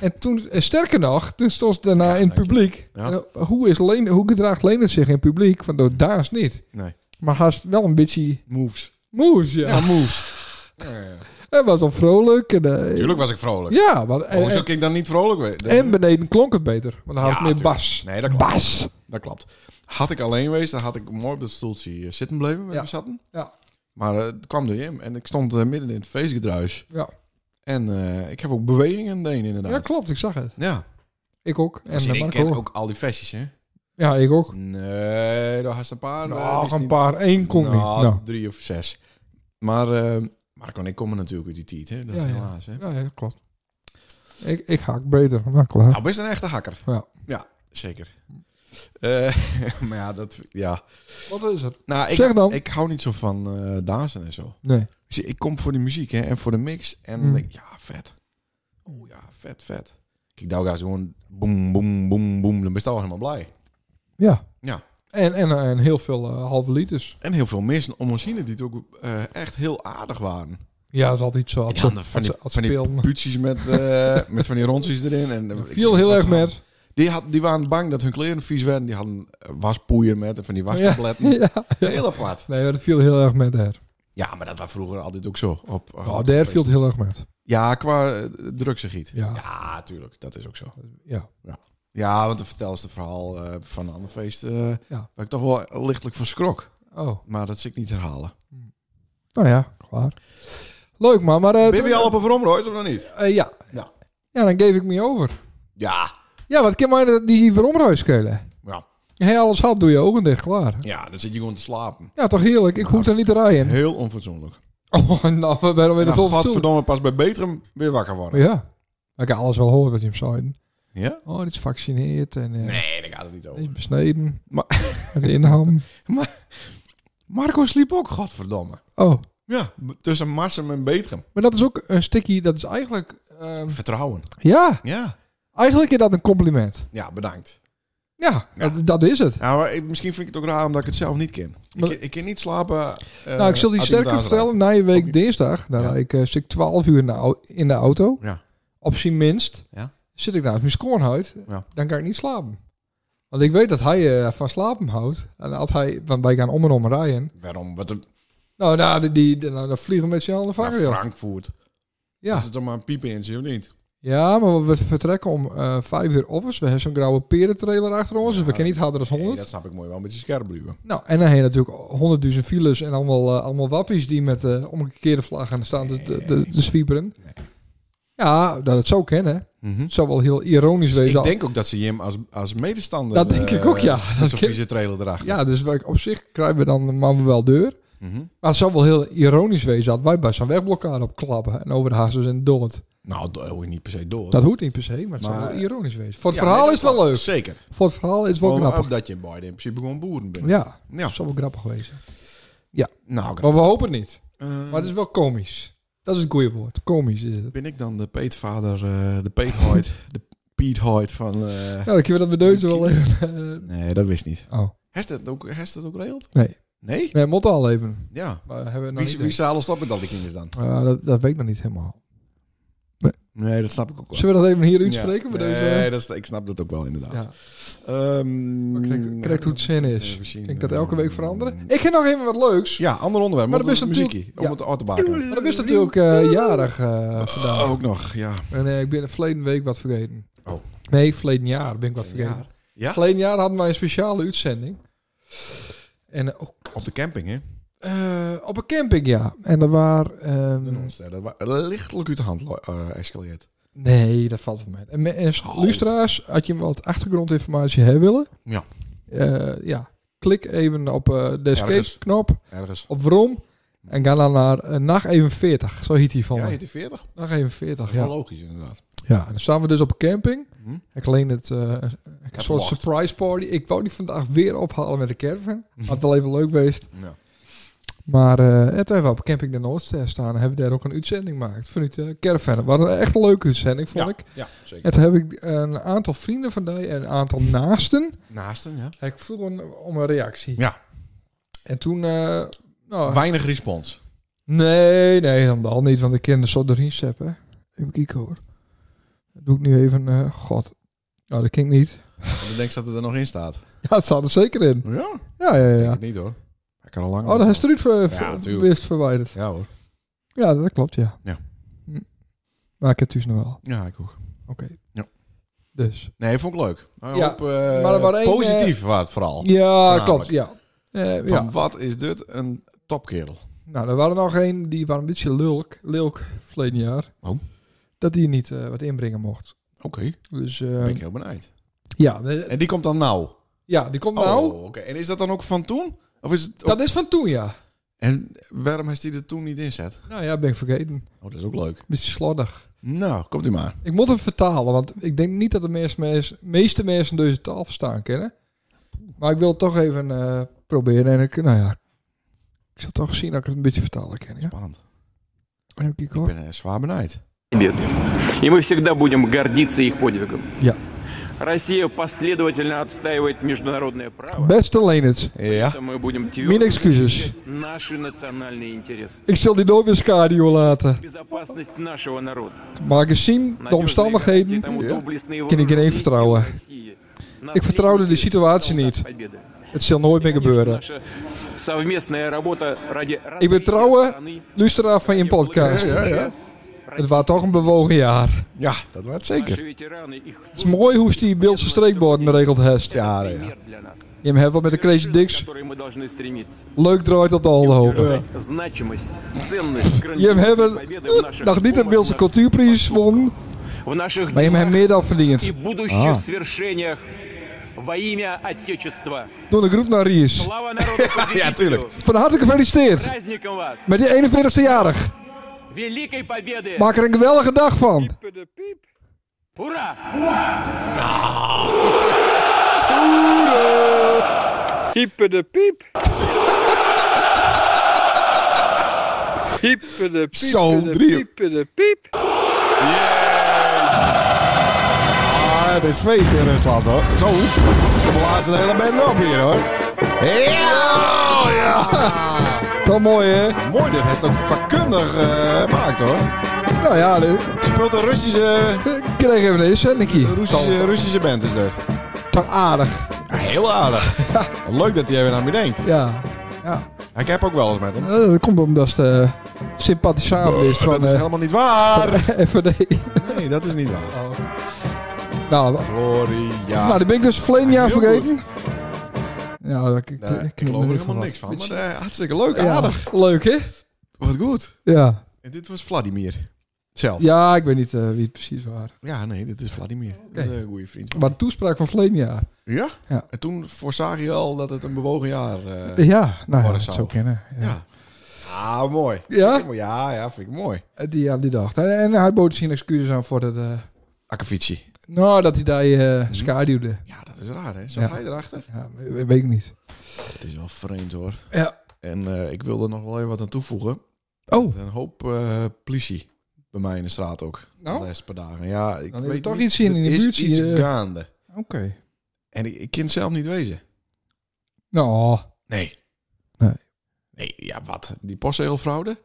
en toen, en sterker nog, toen stond ze daarna Ja, in het dank je. publiek. Ja. En, eh, Hoe, is Leen, hoe gedraagt Leenert zich in het publiek? Want door daar is niet. Nee. Maar haast wel een beetje Moves. moes, ja. Ja, (laughs) moves. Ja, ja. En was dan vrolijk. En, eh, Tuurlijk was ik vrolijk. Ja, maar, en, Hoezo en, kan ik dan niet vrolijk weer? en beneden klonk het beter, want dan had het Ja, meer tuurlijk. bas. Nee, dat klopt. Bas! Dat klopt. Had ik alleen geweest, dan had ik mooi op dat stoeltje eh, zitten blijven waar Ja. we zaten. Ja. Maar eh, het kwam door hem en ik stond eh, midden in het feestgedruis. Ja. En eh, ik heb ook bewegingen deen inderdaad. Ja, klopt, ik zag het. Ja. Ik ook. En Zie, eh, ik Marco ken ook. ook al die festjes, hè? Ja, ik ook. Nee, daar had een paar. eh, die Nou, Nog is Nou, een niet- paar. één kon Nou, niet. Nou. drie of zes. Maar eh, Marco en ik komen natuurlijk uit die tiet, hè? Dat Ja, is ja. helaas, hè? Ja, ja, klopt. Ik, ik haak beter. Nou, klaar. Nou, best een echte hakker. Ja. ja. Zeker. Eh, (laughs) maar ja, dat... Ja. Wat is het? Nou, ik, Zeg dan. ik hou niet zo van eh dansen en zo. Nee. Dus ik kom voor de muziek hè, en voor de mix. En dan Mm. denk ik, ja, vet. Oh ja, vet, vet. Kijk, daar gaat gewoon boem, boem, boem, boem. Dan ben je al helemaal blij. Ja. Ja. En, en, en heel veel eh, halve liters. En heel veel mensen om ons heen die het ook eh, echt heel aardig waren. Ja, dat is altijd iets zo. Als, Ja, ze- dan als, van die- ze- als van die spelen. Puutjes met, (laughs) eh, met van die rondjes erin. En, Dat ik viel weet heel niet erg wat ze hadden. met. Die, had, die waren bang dat hun kleren vies werden. Die hadden eh, waspoeier met en van die wastabletten. (laughs) Ja, ja. Heel apart. Nee, maar dat viel heel erg met der. Ja, maar dat was vroeger altijd ook zo. Op, Oh, op der feesten. viel het heel erg met. Ja, qua eh, drugsgegiet. Ja. ja, tuurlijk. Dat is ook zo. Ja. Ja, want dan vertel ze het verhaal eh, van een ander feest. eh, Ja. Waar ik toch wel lichtelijk van schrok. Oh, Maar dat zit ik niet herhalen. nou ja, klaar. Leuk man, maar... eh, ben toen- je al op een veromrooid of nog niet? eh, ja. Ja. Ja, dan geef ik me over. Ja. Ja, wat kan mij dat- die veromruis schelen? Ja. Hij alles had, doe je ogen dicht, klaar. ja, dan zit je gewoon te slapen. Ja, toch heerlijk. Ik hoef er niet te rijden. Heel onfatsoenlijk. Oh, (laughs) nou, we zijn weer de Nou, golf toe. godverdomme, pas bij Betrum weer wakker worden. Ja. Ik kan alles wel horen wat je hem zei. Ja? Oh, dit is vaccineerd en eh Nee, daar gaat het niet dit is over. besneden. Maar- (laughs) Met de inham. Marco sliep ook, godverdomme. Oh, Ja, b- tussen Marsum en Betrum. maar dat is ook een stukje, dat is eigenlijk... ehm, Vertrouwen. ja, Ja. eigenlijk is dat een compliment. Ja, bedankt. Ja, Ja. Dat, dat is het. Ja, maar ik- misschien vind ik het ook raar omdat ik het zelf niet ken. Ik, Maar- ken- ik ken niet slapen. eh, nou, ik zal die als ik sterker thuis vertellen. rijd. Na je week Oké. dinsdag, daar Ja. rijd ik eh, stuk 12 uur in de, au- in de auto. Ja. Op zijn minst. Ja. Zit ik naast mijn schoonheid. Ja. Dan kan ik niet slapen. Want ik weet dat hij eh, van slapen houdt. En als hij, want wij gaan om en om rijden. Waarom? Wat een Nou, nou, die, die, die- nou, dan vliegen we met z'n allen de naar vangrail. Frankfurt. Ja. Is het dan maar een piepen in, of niet? ja, maar we vertrekken om eh, vijf uur offers. We hebben zo'n grauwe perentrailer achter ons. Dus we Ja. kunnen niet harder dan 100. Nee, dat snap ik mooi wel, een beetje scherp blijven. Nou, en dan heb je natuurlijk honderdduizend files en allemaal, eh, allemaal wappies die met eh, omgekeerde vlaggen staan te, te, te, te zwieperen. Nee. Mhm. Ja, dat het zo kennen. Het zou wel heel ironisch Dus wezen. ik denk ook dat ze hem als, als medestander... Dat denk eh, ik ook, ja. Met Dat zo'n ken- vieze trailer erachter. Ja, dus wij- op zich krijgen we dan maar wel deur. Mhm. Maar het zou wel heel ironisch wezen dat wij bij zo'n wegblokkade op klappen en over de hazes en dood. Nou, daar hoor je niet per se door. Dat hoeft niet per se, maar het zou Maar- wel ironisch wezen. Voor het Ja, verhaal nee, is het wel klopt. leuk. Zeker. Voor het verhaal is het wel Gewoon grappig. dat je in Biden in principe gewoon boeren bent. Ja, Ja. dat zou wel grappig wezen. Nou, Maar we hopen het niet. eh, Maar het is wel komisch. Dat is het goede woord. Komisch is het. ben ik dan de peetvader, eh, de peethooid, (laughs) de Piethooid van... eh, Nou, dan kunnen we dat bedeuten wel even. eh, Nee, dat wist niet. Oh. Heeft dat ook, heeft dat ook regeld? Nee. Nou, Nee? Nee, moet al even. Ja. Maar hebben we nog Wie, niet wie zal ons dat met al die kinderen dan? echt. Eh, dat, dat weet ik nog niet helemaal. Nee, dat snap ik ook wel. Zullen we dat even hier Ja. uitspreken? bij Nee, deze? dat, is- ik snap dat ook wel inderdaad. Ja. Ehm, Maar kijk, kijk hoe het zin is. Even zien. Ik denk dat elke week veranderen. Ehm, Ik heb nog even wat leuks. Ja, ander onderwerp. Maar Maar dat dat is is natuurlijk- muziekje. ja. Om het uit te baken. Maar dat is natuurlijk eh, jarig eh, Ah, vandaag. ook nog, ja. En eh, ik ben verleden week wat vergeten. Oh. Nee, verleden jaar ben ik wat vergeten. Ja. Ja? Verleden jaar hadden wij een speciale uitzending. En eh, ook Op de camping, hè? eh, op een camping, ja. En er waren... ehm, In ons, eh, Dat wa- lichtelijk uit de hand lo- eh escaleert. Nee, dat valt wel mee. En, me- en Oh. luisteraars, had je wat achtergrondinformatie hebben willen? Ja. Eh, ja. Klik even op eh, de Ergens. escape-knop, Ergens. op waarom. En ga dan naar eh, nacht 41. Zo heet die van Ja, me. je 40? Dat Nacht is 41, wel ja. logisch, inderdaad. Ja, en dan staan we dus op een camping. Hm? Ik leen het eh, een soort verwacht. surprise party. Ik wou die vandaag weer ophalen met de (laughs) caravan. Had wel even leuk geweest. Ja. Maar eh en toen hebben we op camping de Noordster staan. En hebben we daar ook een uitzending gemaakt vanuit de caravan. Wat een echt leuke uitzending, vond Ja. ik. ja, zeker. En toen heb ik een aantal vrienden van die en een aantal naasten. Naasten, ja. Ik vroeg een- om een reactie. Ja. En toen... eh, nou, Weinig respons. nee, nee, helemaal niet. Want ik ken de soort erin zeppen. Even kijken hoor. Dat doe ik nu even... eh, God. Nou, dat klinkt niet. (laughs) Want ik denk dat het er nog in staat. Ja, het staat er zeker in. Ja? Ik Ja, ja, denk ja. het niet, hoor. Ik kan al lang... Oh, dat is eruit ver, Ja, ver, tuurlijk. wist verwijderd. Ja, hoor. Ja, dat klopt, ja. Ja. Hm. Maar ik heb het dus nog wel. Ja, ik ook. Oké. Ja. Dus. Nee, vond ik leuk. Een Ja, hoop, eh, maar er waren één, eh, positief was het vooral. Ja, Voornamelijk. klopt, ja. Eh, ja. Van wat is dit een topkerel? Nou, er waren nog een, die waren een beetje lulk, lulk verleden jaar. Oh. Dat hij niet eh, wat inbrengen mocht. Oké, Dus eh, ben ik heel benieuwd. ja, eh, En die komt dan nou? ja, die komt nou. Oh, oké. En is dat dan ook van toen? Of is het... Dat is van toen, ja. En waarom heeft hij er toen niet inzet? Nou ja, ben ik vergeten. Oh, dat is ook leuk. Beetje slordig. Nou, komt u maar. Ik moet hem vertalen, want ik denk niet dat de meeste mensen, meeste mensen deze taal verstaan kennen. Maar ik wil het toch even eh, proberen. En ik, nou ja, ik zal toch zien dat ik het een beetje vertalen ken. Ja? Spannend. Even kijken Ik hoor. ben eh, zwaar benijd. победы. И мы всегда будем гордиться их подвигом. Ja. Россия последовательно отстаивает международное право. Beste Leenets, Ja. Это мы будем mijn твердо excuses. защищать наши национальные интересы. Ik zal die nooit weer schaduw laten. Безопасность нашего народа. Maar gezien de omstandigheden ken ik geen één vertrouwen. Ik vertrouwde de situatie niet. Het zal nooit meer gebeuren. Ik Ik ben trouwe luisteraar van je podcast. Ja, ja, ja. Het was toch een bewogen jaar. Ja, dat was het zeker. Het Het is mooi hoe ze die Beeldse streekborden regeld heeft. Ja, ja. Je hebt wat met de Crazy Dicks. Dicks. Leuk draait dat al de hoofd. Значимость, ценность, Je грандиозность hebben победы в наших nog niet de помыслах, Beeldse cultuurprijs won, в наших maar je hebt hem делах meer dan и verdiend. будущих А. свершениях во имя Отечества. Door de groep naar Ries. Слава народу Ja, tuurlijk. Van harte gefeliciteerd Праздником вас! met die 41ste jarig. Великой победы! Maak er een geweldige dag van. Ура! Hype de piep. Hype de piep. Zo, de drie. piep, de piep. Ah, het is feest in Rusland hoor. Zo, ze blazen de hele band op hier hoor. Ja, ja. Toch mooi, hè? Ah, Mooi, dit heeft ook vakkundig eh, gemaakt hoor. Nou ja, de- Speelt een Russische, ik kreeg even een zendingkie. Russische, Russische band is dat. Toch aardig. Ja, heel (laughs) aardig. Leuk dat hij even aan me denkt. Ja, Ik heb ook wel eens met hem. Eh, dat komt omdat ze de sympathisant is van Oh, eh, Dat is de helemaal niet waar. (laughs) FVD. Nee, dat is niet waar. E. Nou, Gloria. nou, die ben ik dus verleden Ja, jaar heel vergeten. Ja, dat, ik, Nee, Eh, ik ik geloof er helemaal niks van, maar eh, hartstikke leuk, Ja, aardig. Leuk, hè? Wat goed. Ja. En dit was Vladimir. Zelf. Ja, Ja, ik weet niet eh, wie het precies was. nee, dit is Vladimir. Dat is een goede vriend. van Maar de toespraak van verleden jaar. me. Ja? Ja. En toen voorzag je al dat het een bewogen jaar... eh, Ja, nou ja, Warren dat zou. zou kennen. Ja. ja. Ah, mooi. Ja? Vind ik mooi. Ja, ja, vind ik mooi. Eh, Die, ja, die dag. En, en hij bood zijn excuses aan voor dat... eh, Akkefietsie. nou, dat hij daar Mhm. eh schaduwde. Ja, dat is raar, hè? Zat Ja. hij erachter? Ja, we- weet ik niet. Het is wel vreemd, hoor. Ja. En eh, ik wil er nog wel even wat aan toevoegen. Oh, Een hoop eh, politie bij mij in de straat ook. Nou? De laatste paar dagen. Ja, ik Dan is er weet toch niet, iets in er die is buurt, iets hier, eh. gaande. oké. En ik, ik kan het zelf niet wezen. Nou, Nee. Nee. Nee, ja, wat? Die postzegelfraude?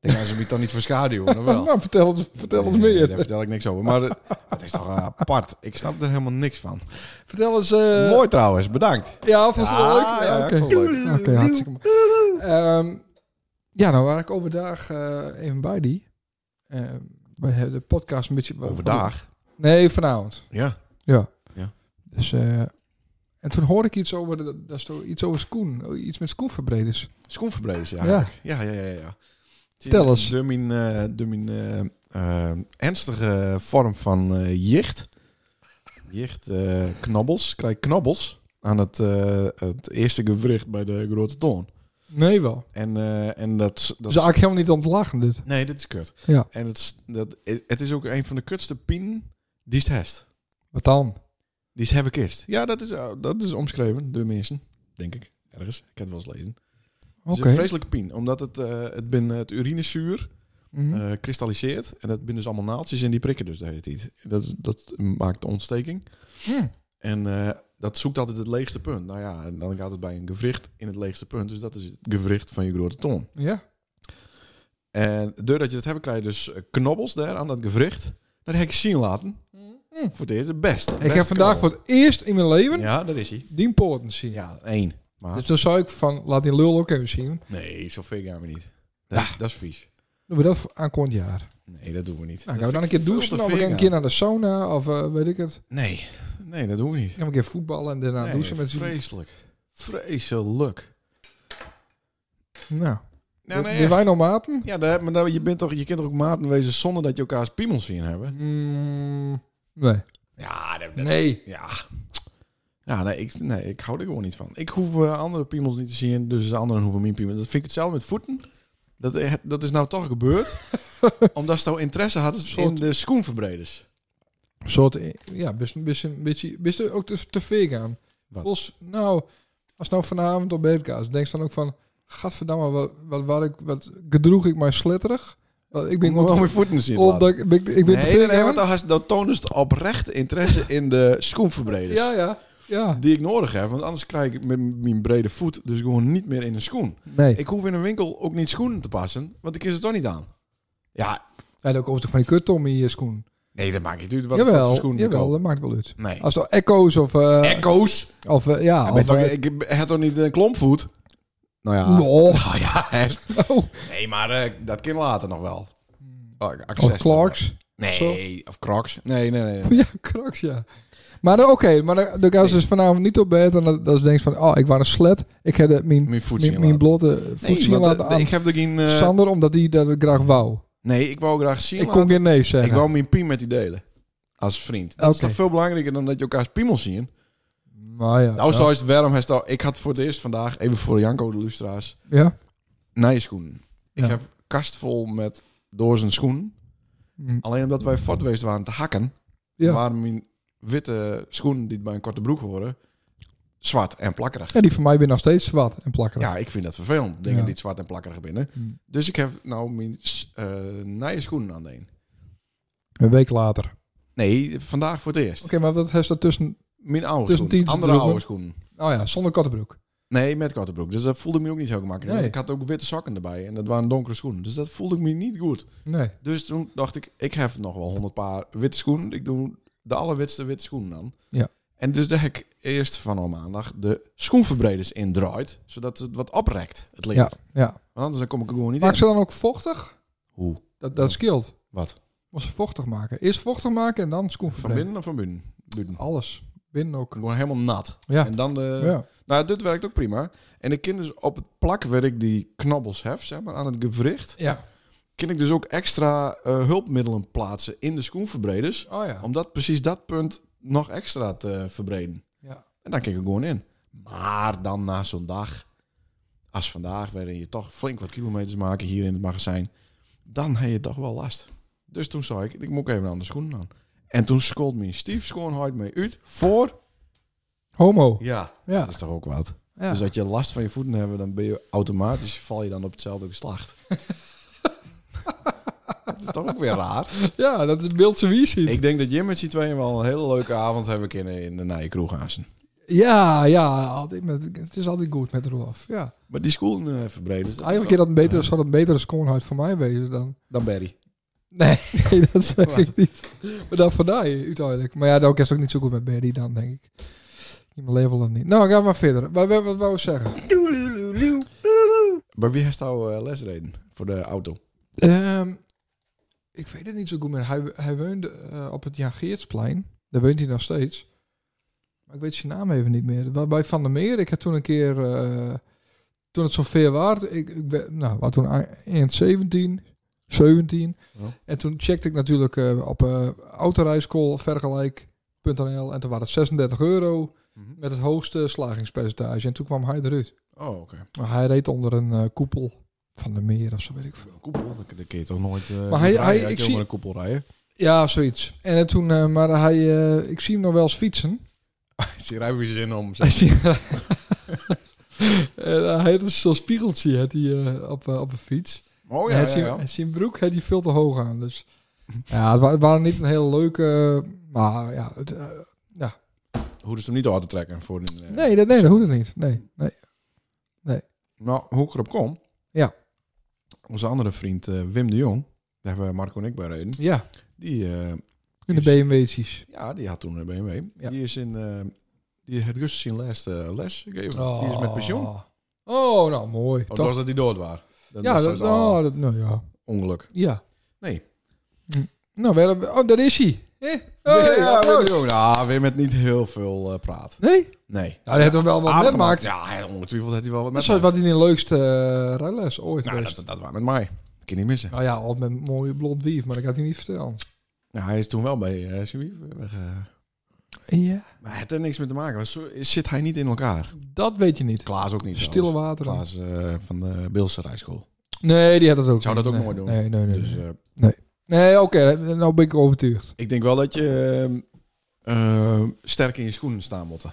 Dan gaan ze me dan niet verschaduwen, of wel? (laughs) nou vertel, ons- vertel ons Nee, meer. Daar vertel ik niks over. Maar eh, het is toch apart. Ik snap er helemaal niks van. Vertel eens... eh, Mooi trouwens, bedankt. Ja, vond je dat Ja, leuk? ja, ik oké. vond het leuk. Oké, hartstikke mooi. Ehm, ja, nou waar ik overdag eh, even bij die. Ehm, wij hebben de podcast een beetje... Overdag. Nee, vanavond. Ja. Ja. Ja. Dus, eh, en toen hoorde ik iets over, de- dat is toch iets over Skoen. oh, Iets met Skoenverbreders. Schoenverbreeders, ja. Ja. eigenlijk. Ja, ja, ja. ja, ja. Vertel eens. Door mijn, eh, door mijn eh, eh, ernstige vorm van eh, jicht. Jicht, eh, knabbels. Krijg ik knabbels aan het, eh, het eerste gewricht bij de grote toon. Nee, wel. En, eh, en dat... dat Dus eigenlijk helemaal niet ontlachen dit. Nee, dit is kut. Ja. En het is, dat, het is ook een van de kutste pien die het heeft. Wat dan? Die is hebben kist. Ja, dat is, eh, dat is omschreven door mensen, denk ik. Ergens. Ik heb het wel eens lezen. Het Oké. is een vreselijke pien, omdat het, eh het, bin, het urinezuur Mhm. eh, kristalliseert. En dat binnen dus allemaal naaltjes en die prikken dus de hele tijd. Dat, is- dat maakt de ontsteking. Hm. En eh, dat zoekt altijd het leegste punt. Nou ja, en dan gaat het bij een gewricht in het leegste punt. Dus dat is het gewricht van je grote tong. Ja. En doordat je dat hebt, krijg je dus eh, knobbels daar aan dat gewricht. Dat heb ik zien laten. Voor het eerst het best. Ik heb vandaag voor het eerst in mijn leven Ja, daar is hij. die poorten zien. Ja, één. Maar Dus dan zou ik van, laat die lul ook even zien. nee, zoveel gaan we niet. Dat, dat is vies. Doen we dat voor aankomend jaar. Nee, dat doen we niet. Nou, gaan Dat we dan een vind keer ik douchen veel of te we veel gaan een keer naar de sauna of eh, weet ik het. gaan. Nee, nee, dat doen we niet. Gaan we een keer voetballen en daarna Nee, douchen met z'n vreselijk. Vreselijk. Nou, Ja, nee, die echt. wij nou maten? ja daar- maar daar- je, bent toch, je kunt toch ook maten wezen zonder dat je elkaars Mhm. piemels zien hebben? Mm, nee. Ja, dat, Nee. ja. Ja, nee ik, nee, ik hou er gewoon niet van. Ik hoef eh, andere piemels niet te zien, dus de anderen hoeven mijn piemel. Dat vind ik hetzelfde met voeten. Dat, eh, dat is nou toch (laughs) gebeurd, omdat ze nou interesse hadden in Soort- de schoenverbreders. Een soort, eh, ja, best, best, een beetje, best ook te, te vegan. Wat? Volgens, nou, als nou vanavond op Beerkaas, denk je dan ook van, gadverdamme, wat, wat, wat, ik, wat gedroeg ik mij sletterig? Wel, Ik ben Ik moet gewoon wel mijn te- voeten zien. op, dat laten. ik ben, ik ben te Nee, nee, nee, vegan. want dan has- dan tonen ze oprecht (laughs) interesse in de schoenverbreders. ja, ja, ja. Die ik nodig heb, want anders krijg ik met mijn brede voet dus gewoon niet meer in een schoen. Nee, Ik hoef in een winkel ook niet schoenen te passen, want ik is het toch niet aan. Ja, ja, dan komt er van die kut Tommy hier schoen. nee, dat maakt niet uit wat het voor Jawel, schoenen ik jawel, koop. dat maakt wel uit. Nee. Als er echo's of... eh, Echo's! Of eh, ja, Hij of... bent ook- eh, ik heb toch niet een klompvoet? Nou ja. nou, Nou (laughs) ja, echt. (laughs) Oh. Nee, maar eh, dat kan later nog wel. Oh, access Of dan Clarks. (laughs) wel. of zo. Nee, of Crocs. Nee, nee, nee. nee. Ja, Crocs, ja. Maar dan- oké, maar dan, dan gaan ze dus vanavond niet op bed. En dan, dan denk je van, oh, ik was een slet. Ik heb de- mijn, Mijn voet mijn, zien mijn laten. blote voet Nee, zien want, eh, laten aan ik heb er geen... eh, Sander, omdat hij dat graag wou. nee, ik wou graag zien ik kon geen nee zeggen. Ik wou mijn piem met die delen. Als vriend. Dat is Oké. toch veel belangrijker dan dat je elkaars piemels zien? maar ja, Nou, ja. zo is het warm. Hij staat- Ik had voor het eerst vandaag, even voor Janko de Lustra's, Ja? nijschoenen. Ik Ja. heb kast vol met dozen schoenen. Hm, Alleen omdat wij fort geweest waren te hakken, ja. waren mijn witte schoenen die bij een korte broek horen zwart en plakkerig. Ja, die van mij weer nog steeds zwart en plakkerig. Ja, ik vind dat vervelend, dingen Ja. die zwart en plakkerig binnen. Hmm. Dus ik heb nou mijn s- eh nije schoenen aan de een. Een week later. Oké, Nee, vandaag voor het eerst. maar wat heeft dat tussen... Mijn oude Tussen schoenen, tientjes andere droegen. oude schoenen. Oh ja, zonder kattenbroek. Nee, met korte broek. Dus dat voelde ik me ook niet zo gemakkelijk. Nee. Want ik had ook witte zakken erbij en dat waren donkere schoenen. Dus dat voelde ik me niet goed. Nee. Dus toen dacht ik, ik heb nog wel honderd paar witte schoenen. Ik doe de allerwitste witte schoenen aan. Ja. En dus daar heb ik eerst van al maandag de schoenverbreders in draait. Zodat het wat oprekt, het leer. Ja, ja. Want anders dan kom ik er gewoon niet Maak in. ze dan ook vochtig? Hoe? Dat, dat scheelt. Wat? Moest ze vochtig maken. Eerst vochtig maken en dan schoen Van verbreden. binnen of van buiten? Buiten. Alles. Binnen Eh, ook. Gewoon helemaal nat. Ja. En dan de... ja. Nou, dit werkt ook prima. En ik kan dus op het plak waar ik die knobbels heb, zeg maar, aan het gewricht... Ja. kan ik dus ook extra eh, hulpmiddelen plaatsen in de schoenverbreders. Oh ja. Om dat, precies dat punt nog extra te eh, verbreden. Ja. En dan kijk ik er gewoon in. Maar dan na zo'n dag, als vandaag, waarin je toch flink wat kilometers maken hier in het magazijn, dan heb je toch wel last. Dus toen zei ik, ik moet even aan de schoenen aan. En toen scold mijn stief schoonheid mee uit voor... Homo. Ja. Ja. Dat is toch ook wat. ja. Dus dat je last van je voeten hebben, dan ben je automatisch, val je dan op hetzelfde geslacht. dat is toch ook weer raar. dus- ja, dat is beeld ze wie ziet. Ik denk dat Jim met z'n tweeën wel een hele leuke avond hebben kunnen in de Nijenkroeg Haasen. Ja, ja. Altijd met, het is altijd goed met Rolof. Ja. Maar die school eh verbreden. Dus dat Eigenlijk is is dat een betere, zal dat een betere schoonheid voor mij wezen dan... wel- dan Barry. Nee, (laughs) dat zeg ik niet. Maar dat voor mij, uiteindelijk. Maar ja, dat is ook niet zo goed met Berry dan, denk ik. In mijn leven dan niet. Nou, gaan we maar verder. Wat, wat, wat wou ik zeggen? Maar wie heeft jou eh, lesreden voor de auto? Ehm, ik weet het niet zo goed meer. Hij, hij woonde eh, op het Jan Geertsplein. Daar woont hij nog steeds. Maar ik weet zijn naam even niet meer. Wa- Bij Van der Meer, ik had toen een keer... eh, toen het zover was, ik, ik ben, nou, was toen a- eind 17, 17. Ja. En toen checkte ik natuurlijk eh, op eh autorijschoolvergelijk.nl. En toen waren het 36 euro Mhm. met het hoogste slagingspercentage. En toen kwam hij eruit. Oh, oké. Maar hij reed onder een eh, koepel van de meer of zo weet ik veel. Koepel, dan dan kun je toch nooit eh Maar hij- niet rijden? hij- kan ik je zie- maar een koepel (laughs) rijden. Ja, zoiets. En eh, toen, eh, maar hij, eh, ik zie hem nog wel eens fietsen. Zie je weer zin om. (laughs) Hij zie- En, eh, hij heeft dus zo'n spiegeltje had hij, eh, op, eh, op een fiets. Oh En ja, hij ja, zien- ja. en zijn broek had hij veel te hoog aan. Dus (laughs) ja, het wa- het waren niet een hele leuke. Maar ja, het, eh, Hoe is hem niet door te trekken voor een. eh, nee, dat, nee, dat hoeft niet. Nee, nee. Nou, hoe ik erop kom. Ja. Onze andere vriend eh, Wim de Jong, daar hebben Marco en ik bij reden. Ja, Die, eh, in de Is- BMW'tjes. ja, die had toen een BMW. Ja. Die is in. eh die heeft rustig zijn laatste les gegeven. Die is met pensioen. Oh, Oh, nou mooi. dat toch? was dat hij dood was. Dan Ja, was dat, dus al oh, dat, nou ja. ongeluk. Ja. Nee. Hm. Nou, we hebben- oh, daar is hij. Eh? ja, Hey, (laughs) ja, applaus. Wim de Jong. Nou, Wim met niet heel veel eh, praat. oh. Nee? Nee. Nou, dat hebben we wel wat Aardig net maakt. gemaakt. Ja, hij- ongetwijfeld heeft hij wel wat Dat met is mij. wat in de leukste eh, rijles ooit Nou, geweest. dat, dat was met mij. Ik kan niet missen. Nou ja, al met een mooie blond wief, maar dat had hij niet vertellen. Nou, hij is toen wel bij eh zijn wief weg. eh, Ja, Maar het heeft niks mee te maken. want Zo zit hij niet in elkaar. dat weet je niet. Klaas ook niet. Stille trouwens. wateren. Klaas eh, van de Beelse Rijschool. Nee, die had dat ook. Zou niet. dat ook nee. nooit doen. Nee, nee, nee. Dus nee. eh, Nee, oké, nou ben (laughs) ik overtuigd. ik denk wel dat je eh, eh, sterk in je schoenen staan moet.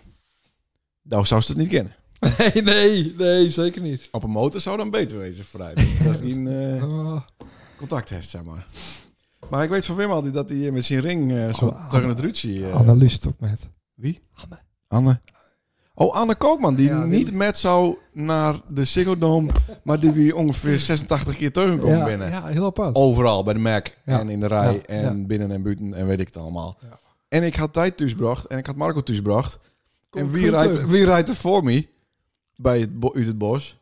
Nou zou ze het niet kennen. Nee, nee, nee, zeker niet. Op een motor zou dan beter wezen vooruit. Dus dat is geen (laughs) eh, Ah, contacttest, zeg maar. Maar ik weet van Wim altijd dat hij eh, met zijn ring eh, zo Anne- tegen het ruzie... eh, Anne lust ook met. Wie? Anne. Anne. Oh, Anne Koopman, die Ja, die- niet met zou naar de Ziggo Dome, maar die we ongeveer 86 keer tegenkomen ja, binnen. ja, heel apart. Overal, bij de Mac Ja. en in de rij Ja, en binnen en buiten en weet ik het allemaal. Ja. En ik had tijd thuisgebracht en ik had Marco thuisgebracht. Kom, En wie goed rijdt, terug. wie rijdt er voor me bij het, bo- uit het bos?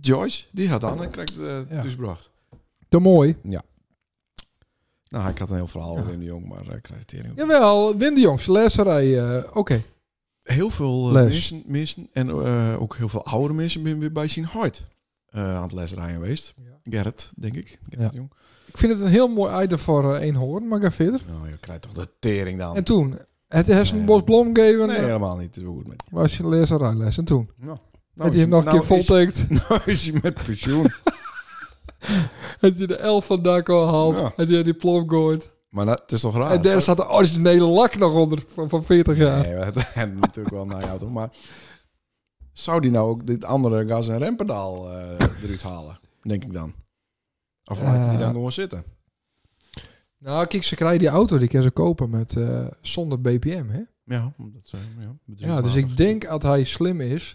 Joyce, die had Anne krijgt, eh Hmm. Ja. thuisgebracht. Te mooi. Nou, ik had een heel verhaal Ja. over in de jong, maar eh, ik krijg het hier niet. Jawel, Wim de Jong, Slesserij. eh, Oké. heel veel eh, Les. mensen, mensen en eh, ook heel veel oudere mensen ben weer bij zijn hart eh, aan het lesrijden geweest. Ja. Gerrit, denk ik. Gerrit Ja. Jong. Ik vind het een heel mooi item voor eh, één hoorn, maar ga verder. Nou, je krijgt toch de tering dan. En toen, het is een bos blom gegeven, nee, eh, helemaal niet. Het is wel goed met je. was je lezerijles. En toen, Nou, had je hem nog een keer vol voltekend, (laughs) Nou is hij met pensioen. had je de elf van dak al gehaald, Ja. had je die plom gooit. maar dat het is toch raar. en daar Zo- zat de originele lak nog onder van, van 40 jaar. Nee, (laughs) het en natuurlijk wel naar jou toe. Maar zou die nou ook dit andere gas- en rempedaal eh, eruit halen? Denk ik dan. Of laat hij die Ja. dan gewoon zitten? Nou, kijk, ze krijgen die auto, die kan ze kopen met, eh, zonder BPM, hè? Ja, dat zijn ja, Ja, dus ik denk dat hij slim is.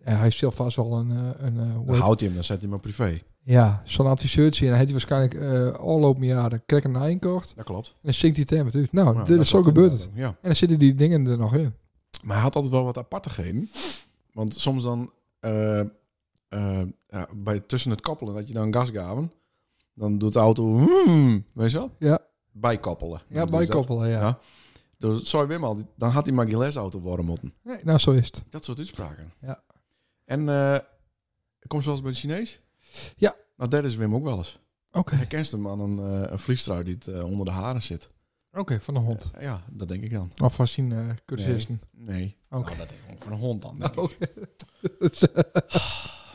En hij is zelf vast wel een... eh, een eh, hoe Dan heet- houdt hij hem, dan zet hij hem op privé. ja, zo'n adviseurtje. En hij heeft hij waarschijnlijk eh afgelopen jaar de krek een inkocht. En Dat klopt. dan zinkt hij het hem natuurlijk. Nou, Ja, dit dat is zo klopt gebeurd het. inderdaad. Ja. En dan zitten die dingen er nog in. Maar hij had altijd wel wat apartigheden. Want soms dan eh, eh, ja, bij, tussen het koppelen, dat je dan gas gaven, dan doet de auto, hmm, weet je wel? Ja. Bijkoppelen. Ja, Dus dat- bijkoppelen, ja. Ja. Dus zou Wim al, dan had hij maar Gilles auto worden moeten. Nee, nou, zo is het. Dat soort uitspraken. Ja. En eh komt zoals bij de Chinees? Ja. Nou, dat is Wim ook wel eens. Oké, Hij kent hem aan een, eh een vliestrui die het, eh, onder de haren zit. oké, van de hond. Eh, ja, dat denk ik dan. Of van zijn eh, cursisten. Nee. Oké. Nou, dat is gewoon van een hond dan. Denk ik. Oh,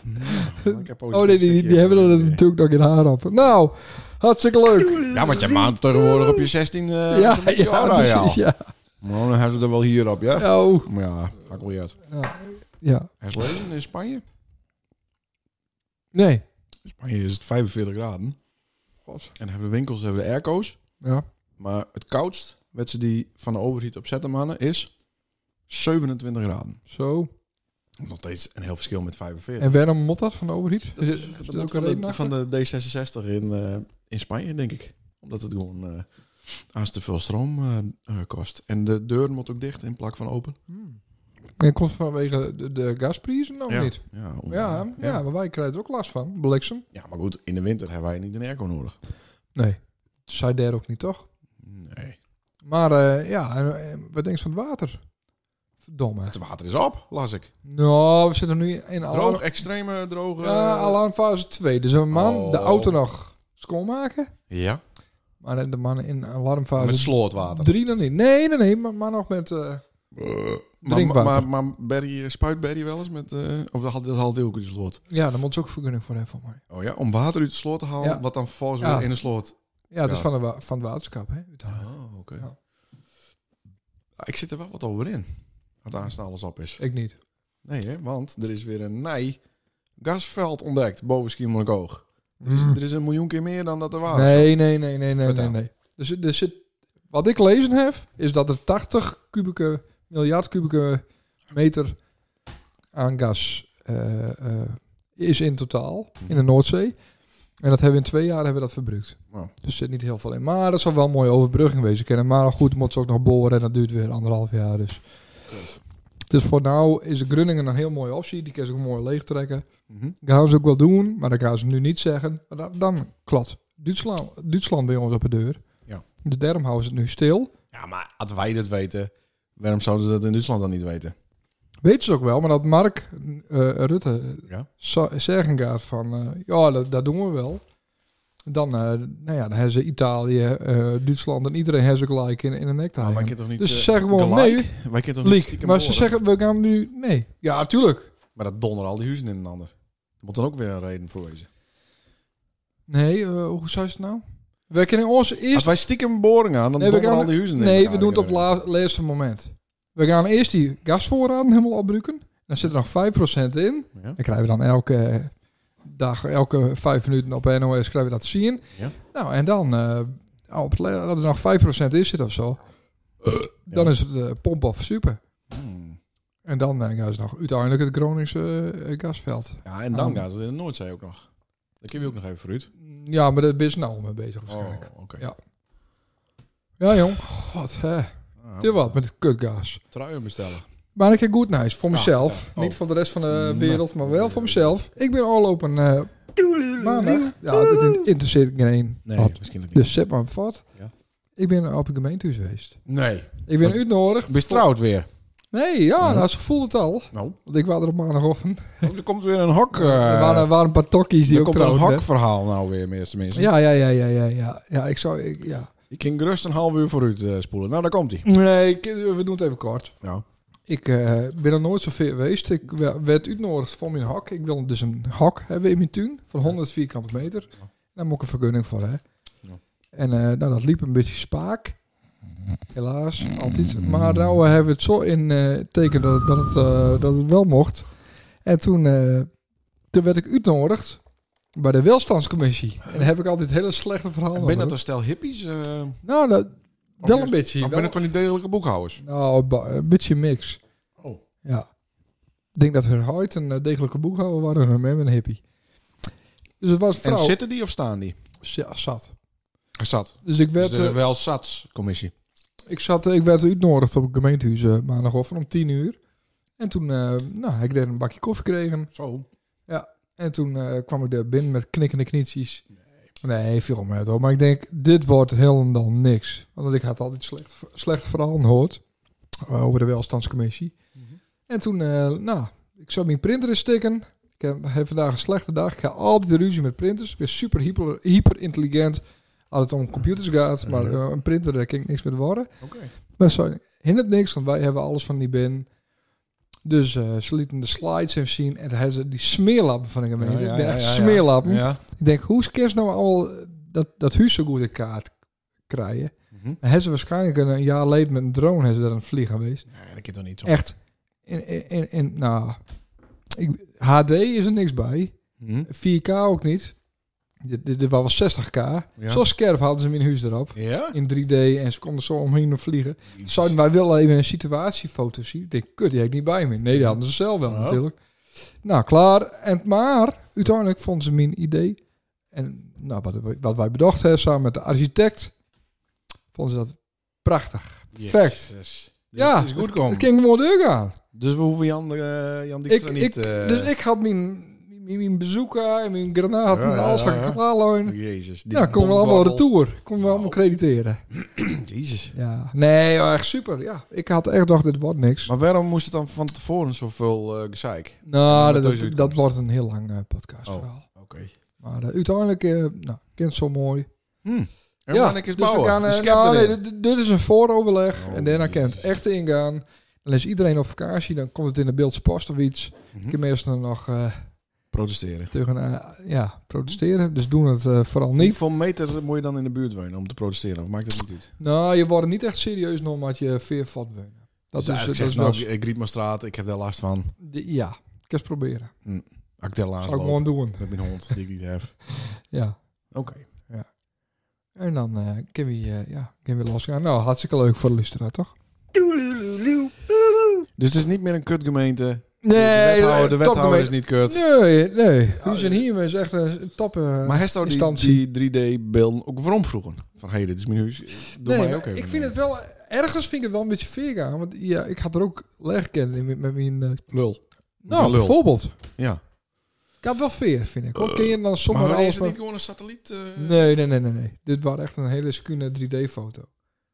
Nou, ik heb ook oh nee, die, die, die hebben er natuurlijk nog in haar op. Nou, hartstikke leuk. eh, Ja, want je maand tegenwoordig op je 16 eh ja, zo'n beetje ja, oranje al. precies, (laughs) ja. Nou, dan hebben ze er wel hier op, ja? Nou, Maar ja, maakt wel niet uit. ja. Herslezen in eh, Spanje? Nee. In Spanje is het 45 graden. Gods. En hebben de winkels hebben de airco's. Ja. Maar het koudst, wat ze die van de overheid op zetten, mannen, is 27 graden. Zo. Nog steeds een heel verschil met 45. En waarom moet dat van de overheid? dat Is- is, is Eh, dat er moet ook een van, reden de, achter? van de D66 in, eh, in Spanje, denk ik. Omdat het gewoon eh als te veel stroom eh, eh, kost. En de deur moet ook dicht in plaats van open. Hmm. En komt vanwege de, de gasprijzen nog ja. niet? Ja, om- Ja, ja. maar wij krijgen er ook last van. Bliksem? Ja, maar goed, in de winter hebben wij niet een airco nodig. Nee. Zij daar ook niet, toch? Nee. Maar eh, ja, en, eh, wat denk je van het water? Verdomme. Het water is op, las ik. Nou, we zitten nu in alarm, Droog, extreme droge... ja, alarmfase 2. Dus een man de Oh. auto nog schoonmaken. Ja, Maar de man in met alarmfase slootwater. 3 dan niet. Nee, nee, nee. Maar, maar nog met... eh, Eh, Drinkwater. Maar, maar, maar Barry, eh, spuit Barry wel eens met... eh, of dat had, dat had hij ook in de sloot. ja, daar moet ze ook vergunning voor hebben. voor mij. Oh ja, om water uit de sloot te halen, Ja. wat dan volgens Ja. weer in de sloot... Ja, het is Ja. van, de, wa- van het waterschap, hè? Oh, oké. Ja. Ah, Ik zit er wel wat over in. Wat aanstaan alles op is. Ik niet. Nee, hè? want er is weer een nij gasveld ontdekt boven Schiermonnikoog. Mm. Er is een miljoen keer meer dan dat er was. Nee, nee, nee, nee, nee, nee, Vertel. nee. Dus, er zit wat ik lezen heb, is dat er 80 kubieke, miljard kubieke meter aan gas eh, eh, is in totaal in de Noordzee. En dat hebben we in twee jaar hebben we dat verbruikt. Wow. Dus er zit niet heel veel in. Maar dat zal wel een mooie overbrugging wezen kunnen. Maar goed, moet ze ook nog boren en dat duurt weer anderhalf jaar. Dus. dus voor nu is de Grunningen een heel mooie optie. Die kan ze ook mooi leegtrekken Mhm. gaan ze ook wel doen, maar dat gaan ze nu niet zeggen. Maar dan, dan klopt Duitsland, Duitsland bij ons op de deur. Ja. Dus daarom houden ze het nu stil. Ja, maar als wij dat weten, waarom zouden ze dat in Duitsland dan niet weten? Weet ze ook wel, maar dat Mark eh, Rutte Ja. zo- zeggen gaat van... eh, ja, dat, dat doen we wel. Dan, eh, nou ja, dan hebben ze Italië, eh, Duitsland en iedereen hebben ze gelijk in, in een nek te maar hangen. ik kan toch niet, Dus eh, ze zeggen gewoon gelijk? nee, Wij kunnen toch niet Liek. stiekem Maar ze horen? zeggen, we gaan nu... Nee. Ja, tuurlijk. Maar dat donder al die huizen in een ander. Er moet dan ook weer een reden voor wezen. Nee, eh, hoe zei ze het nou? We kunnen ons Als eerst... wij stiekem boring aan, dan Nee, we donderen gaan- al die huizen in Nee, elkaar. we doen het op het la- laatste moment. We gaan eerst die gasvoorraden helemaal opbruiken. Dan zit er nog 5% in. Ja. Dan krijgen we dan elke dag, elke vijf minuten op NOS krijgen we dat zien. Ja. Nou, en dan, eh, op het la- dat er nog 5% in zit of zo, dan is het eh, pomp of super. Hmm. En dan eh, gaan ze nog uiteindelijk het Groningse eh, gasveld. Ja, en dan Ah. gaan ze in de Noordzee ook nog. Daar kun je ook nog even vooruit. Ja, maar daar ben je nou al mee bezig Oh, waarschijnlijk. oké. Ja. Ja, jong. God, hè. Ah, Dit wat, met het kutgas. Truien bestellen. Maar ik heb goed nieuws voor Ah, mezelf. vertel. Oh. Niet voor de rest van de Nee. wereld, maar wel voor mezelf. Ik ben al op een eh, maandag. Ja, dit in- interesseert geen Nee, Wat? misschien niet. Dus zet maar vat. Ja. Ik ben op een gemeentehuis geweest. Nee. Ik ben Wat? uitnodigd. Bist trouwd weer. Nee, ja, Ja. nou, ze voelde het al. Nou, Want ik was er op maandagochtend. oh, er komt weer een hok. eh, er waren, waren een paar tokkies die er ook komt een trouwden. hokverhaal nou weer, meeste mensen. Ja, ja, ja, ja, ja, ja. Ja, ik zou... Ik, ja. Ik ging gerust een half uur vooruit eh, spoelen. Nou, daar komt hij. Nee, ik- we doen het even kort. Nou, Ik eh, ben er nooit zo ver geweest. Ik we- werd uitnodigd voor mijn hak. Ik wil dus een hak hebben in mijn tuin van 100 vierkante meter. Daar moet ik een vergunning voor hè. Ja. En eh, nou, dat liep een beetje spaak. Helaas, altijd. Maar nou eh, hebben we het zo in eh, teken dat, het- dat, het, eh, dat het wel mocht. En toen, eh, toen werd ik uitnodigd bij de welstandscommissie. En daar heb ik altijd hele slechte verhalen ben dat over. een stel hippies? eh Nou, dat, wel een beetje. of wel- ben het van die degelijke boekhouders? nou, ba- een beetje mix. Oh. Ja. Ik denk dat haar huid een eh, degelijke boekhouder waren en hem een hippie. Dus het was vrouw. En zitten die of staan die? Ja, zat. Er Zat. Dus ik werd, Dus de eh, wel satscommissie. ik zat, eh, ik werd uitnodigd op het gemeentehuis eh, maandagochtend om tien uur. En toen, eh, nou, ik deed een bakje koffie kregen. Zo. En toen eh, kwam ik daar binnen met knikkende knietjes. Nee, veel meer hoor. Maar ik denk, dit wordt helemaal niks. Want ik had altijd slecht, slecht verhalen gehoord eh, over de welstandscommissie. En toen, eh, nou, ik zou mijn printer eens stikken. Ik heb, heb vandaag een slechte dag. Ik ga altijd de ruzie met printers. Ik ben super hyper, hyper intelligent als het om computers gaat. Maar Mhm. eh, een printer, daar kan ik niks mee worden. Oké. Maar zo hindert niks, want wij hebben alles van die bin. Dus eh, ze lieten de slides even zien. En daar hebben ze die smeerlappen van de Ja, gemeente. ja, ik ben ja, echt ja, ja. smeerlappen. Ja. Ik denk, hoe kerst nou al dat, dat huis zo goed in kaart krijgen? Mhm. En hebben ze waarschijnlijk een, een jaar geleden met een drone hebben ze daar aan het vliegen geweest. Nee, dat kan toch niet zo. Echt. In, in, in, in- nou, ik, HD is er niks bij. Hm? 4K ook niet. Dit, dit, dit was wel 60k. Ja. Zo scherp hadden ze mijn huis erop. Ja? In 3D en ze konden zo omheen vliegen. Zouden wij wel even een situatiefoto zien? Ik denk, kut, die heb ik niet bij me. Nee, die hadden ze zelf wel Ja. natuurlijk. Nou, klaar. En, maar uiteindelijk vonden ze mijn idee. En nou, wat, wat wij bedacht hebben samen met de architect, vonden ze dat prachtig. Perfect. Yes, yes. Dus ja, het is goed komen. Het ging mooi doorgaan. Dus we hoeven Jan, eh Jan Ik, Dijkstra ik, niet... eh, dus ik had mijn, mijn, mijn bezoeker en mijn granaten Ja, en ja, alles ja, gaan ja. klaarlooien. Jezus. die Ja, komen we allemaal bombabbel. retour. Komen we allemaal Nou. crediteren. Jezus. Ja. Nee, echt super. Ja, ik had echt gedacht, dit wordt niks. Maar waarom moest het dan van tevoren zoveel eh gezeik? Nou, Omdat dat, deze dat, uitkomst. Oh. wordt een heel lang eh, podcastverhaal. Oké. Maar eh, uiteindelijk, eh nou, kind zo mooi. En ja, ik eens dus we bouwen. gaan, eh, Een schep nou, nee, erin. dit, dit is een vooroverleg. Oh, en daarna kan het jezus. echt ingaan. Dan is iedereen op vakantie, dan komt het in de beeldspost of iets. Mhm. Ik heb meestal nog eh, Protesteren. tegen eh, ja, protesteren. Dus doen het eh, vooral niet. Hoeveel meter moet je dan in de buurt wonen om te protesteren? Of maakt dat niet uit? Nou, je wordt niet echt serieus nog omdat je veer vat bent. Dat Dus is, dat eigenlijk is zegt, nou, wel- ik- ik riep maar straat, ik heb daar last van. de- ja, ik kan het proberen. Ik daar Dat last zou ik van gewoon doen. met mijn hond die ik niet heb. Ja. (laughs) Oké. En dan eh kunnen we, eh, ja, kunnen we losgaan. Nou, hartstikke leuk voor de luisteraar, toch? Dus het is niet meer een kutgemeente. Nee, de wethouder, de eh, wethouder is topgemeente. niet kut. Nee, nee. Huus en Hiem is echt een top. eh, Maar hij zou die, Instantie. die 3D-beelden ook waarom vroegen? Van, hé, hey, dit is mijn huis. Doe nee, mij maar ook even. ik mee. vind het wel. Ergens vind ik het wel een beetje veer aan. Want ja, ik had er ook leg kennen in met, met mijn. eh, Lul. nou, lul. bijvoorbeeld. Ja. Ik had wel veer, vind ik. Hoor. Ken je dan Eh, Maar sommige waarom is alles het niet van- gewoon een satelliet? eh? Nee, nee, nee, nee, nee. Dit was echt een hele skune 3D-foto.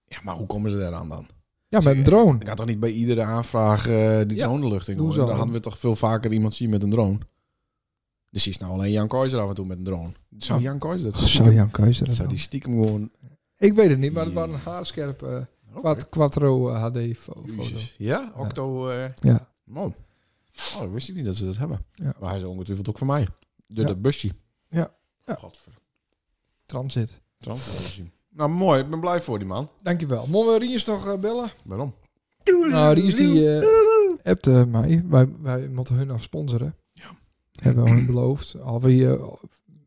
Ja, maar hoe komen ze daaraan dan? Ja, met Zeg, een drone. Ik had toch niet bij iedere aanvraag eh, die Ja, drone de lucht in doen gooien? ze Dan al. hadden we toch veel vaker iemand zien met een drone? Dus is nou alleen Jan Keizer af en toe met een drone. Zou Oh. Jan Keizer dat Zou Jan Keizer dat Zou die doen? stiekem gewoon... Ik weet het niet, maar het waren een haarscherpe Oké. quad, quattro eh, HD fo- foto. Jezus. Ja, Octo... eh, Ja. man. Oh, dat wist ik niet dat ze dat hebben. Ja. Maar hij is ongetwijfeld ook van mij. De, Ja. dat busje. Ja. Ja. Godver. Transit. Transfer. Nou, mooi. Ik ben blij voor die man. Dankjewel. Mogen we Riens nog eh, bellen? Waarom? Nou, Riens die eh, appte mij. Wij, wij moeten hun nog sponsoren. Ja. Hebben we hun beloofd. Al wie, eh,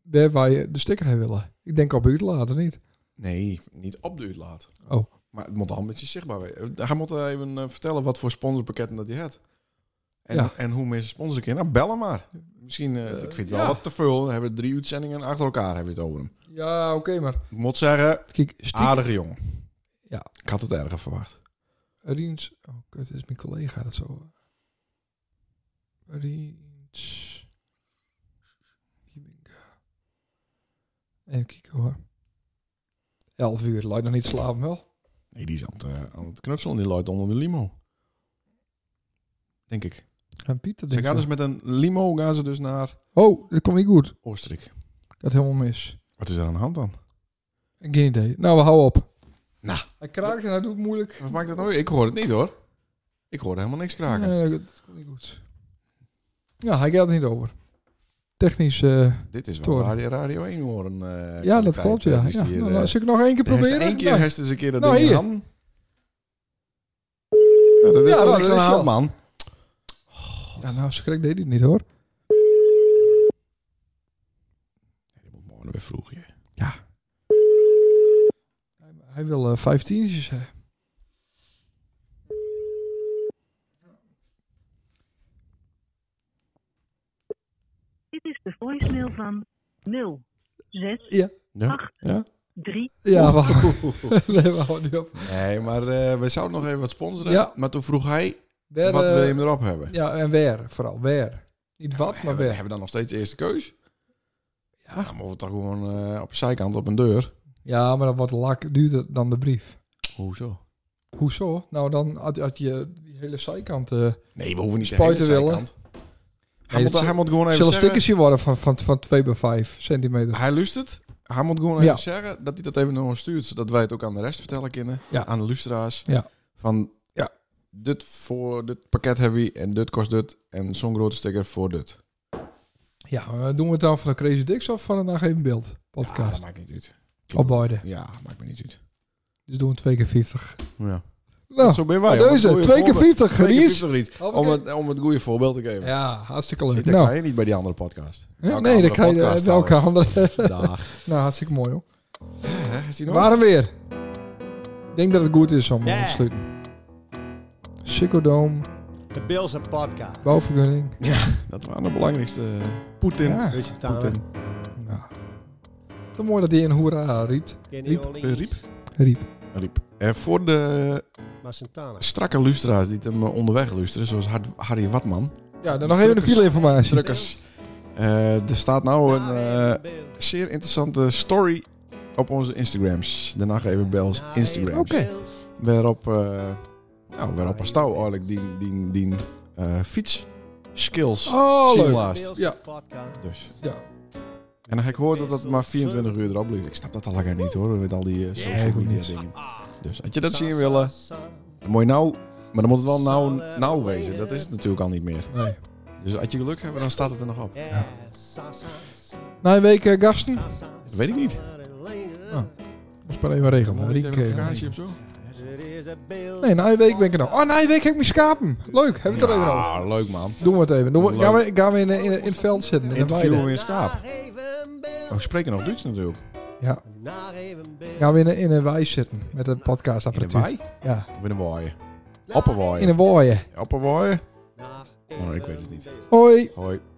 waar wij eh, de sticker heen willen. Ik denk op buurt later niet. Nee, niet op de uitlaat. Oh. Maar het moet al een beetje zichtbaar zijn. Hij moet even eh, vertellen wat voor sponsorpakketten dat hij heeft. En, Ja. en hoe mensen sponsoren kunnen. Nou, bellen maar. Misschien, eh, ik vind het wel ja. wat te veel. We hebben drie uitzendingen achter elkaar hebben we het over hem. Ja, oké, maar Ik moet zeggen, kijk, stiek, aardige jongen. Ja. Ik had het erger verwacht. Riens... Oh, kut, is mijn collega dat zo... eh, Riens... Hier ben ik. Even kijken hoor. Elf uur, laat nog niet slapen wel. Nee, die is aan het, eh, aan het knutselen. Die luidt onder de limo. Denk ik. En Piet, dat Ze denk gaan ik dus met een limo gaan ze dus naar zo. Oh, dat komt niet goed. Oostenrijk. Dat helemaal mis. Wat is er aan de hand dan? Geen idee. Nou, we houden op. Nou. Hij kraakt en hij doet moeilijk. Wat maakt dat nou? weer? Ik hoor het niet hoor. Ik hoorde helemaal niks kraken. Nee, dat dat komt niet goed. Ja, hij gaat er niet over. Technisch... eh, Dit is wel Toren. Radio, radio 1 horen. eh, ja, dat kwaliteit, klopt, eh, ja. die is ja. hier, nou, eh, nou, zal ik nog één keer hij is er proberen? één keer Nou, heeft eens een keer dat Nou, ding in hier. handen. Ja, dat is Ja, toch nou, niks aan dat de hand, is wel. man. Ja, nou, schrik deed hij het niet, hoor. Je moet morgen weer vroeg, hè. Hij, hij wil eh, vijf tientjes hebben. Dit is de voicemail van 0 6 Ja? ja? 3 Ja, wacht. (laughs) nee, we houden niet op. Nee, maar eh, we zouden nog even wat sponsoren. Ja. Maar toen vroeg hij, Waar, wat eh, wil je hem erop hebben? Ja, en waar, vooral. Waar. Niet wat, maar hebben, we- waar. hebben we dan nog steeds de eerste keus? Ja. Ja. Dan moeten we toch gewoon eh, op de zijkant op een deur. Ja, maar dat wordt lak duurder dan de brief. Hoezo? Hoezo? Nou, dan had, had je die hele zijkant... eh Nee, we hoeven niet Spuiten de hele willen. zijkant. Hij, Nee, moet, dat hij moet gewoon even zullen zeggen... stickersje worden van, van, van 2 bij 5 centimeter. Hij luistert. Hij moet gewoon even Ja. zeggen dat hij dat even naar ons stuurt. Zodat wij het ook aan de rest vertellen kunnen. Ja. Aan de luisteraars. Ja. Van, Ja. dit voor dit pakket hebben we en dit kost dit. En zo'n grote sticker voor dit. Ja, maar doen we het dan van de Crazy Dicks of van een Dag Even Beeld Ja, podcast? Ah, dat maakt niet uit. Op beide. Ja, maakt me niet uit. Dus doen we twee keer 50. Ja. Nou, Zo ben wij. deze, om het goede twee keer voorbeeld- 40, twee keer Ries. 40, Ries. Om Hoppakee. het, om het goede voorbeeld te geven. Ja, hartstikke Zie, leuk. dat Nou, kan je niet bij die andere podcast. hè? nee, dan krijg je eh, welke andere. (laughs) Dag. nou, hartstikke mooi hoor. Hè, is die We nog? waren weer. Ik denk dat het goed is om te sluiten. Chico Dome, De Bills en podcast. bouwvergunning. Dat waren de belangrijkste. Poetin. Ja. Dus je Poetin. taal. Nou. Te mooi dat hij een hoera riep. Riep, eh, riep. riep. Riep. En Eh, voor de Maar Santana. strakke luisteraars die het hem eh, onderweg luisteren, zoals Har- Harry Watman, Ja, dan nog even de Drukkers. fileinformatie. drukkers. Eh, er staat nou een eh, zeer interessante story op onze Instagrams. Daarna even Bels Instagrams. Oké. Waarop, eh nou, waarop Pastouw eigenlijk die, die, die eh, fiets skills Oh, zien leuk. laat. Ja. Dus. Ja. En dan heb ik gehoord dat dat maar 24 uur erop blijft. Ik snap dat al lekker niet hoor, met al die eh, Nee, ik social ook media niet. dingen. Dus als je dat zien wil, eh, dan moet je nou... Maar dan moet het wel nou, nou wezen. Dat is het natuurlijk al niet meer. Nee. Dus als je geluk hebt, dan staat het er nog op. Na een week eh, gasten. Dat Dat weet ik niet. Ah. is maar even regelen. Moet Riek, ik even eh, een vakantie of zo? Nee, na een week ben ik er nog. Oh, na een week heb ik mijn schapen. Leuk, hebben we het er even over. Ah, leuk man. Doen we het even. Doen we, Leuk. gaan we, gaan we in, in, in het veld zitten. In de Interviewen weide. we in Schaap. Oh, we spreken nog Duits natuurlijk. Ja. Gaan we in, een- in een wei zitten met een In een podcastapparatuur. wei? Ja. Of in een waaien? In Opperwaaien. een waaien. Opperwaaien? Oh, ik weet het niet. Hoi. Hoi.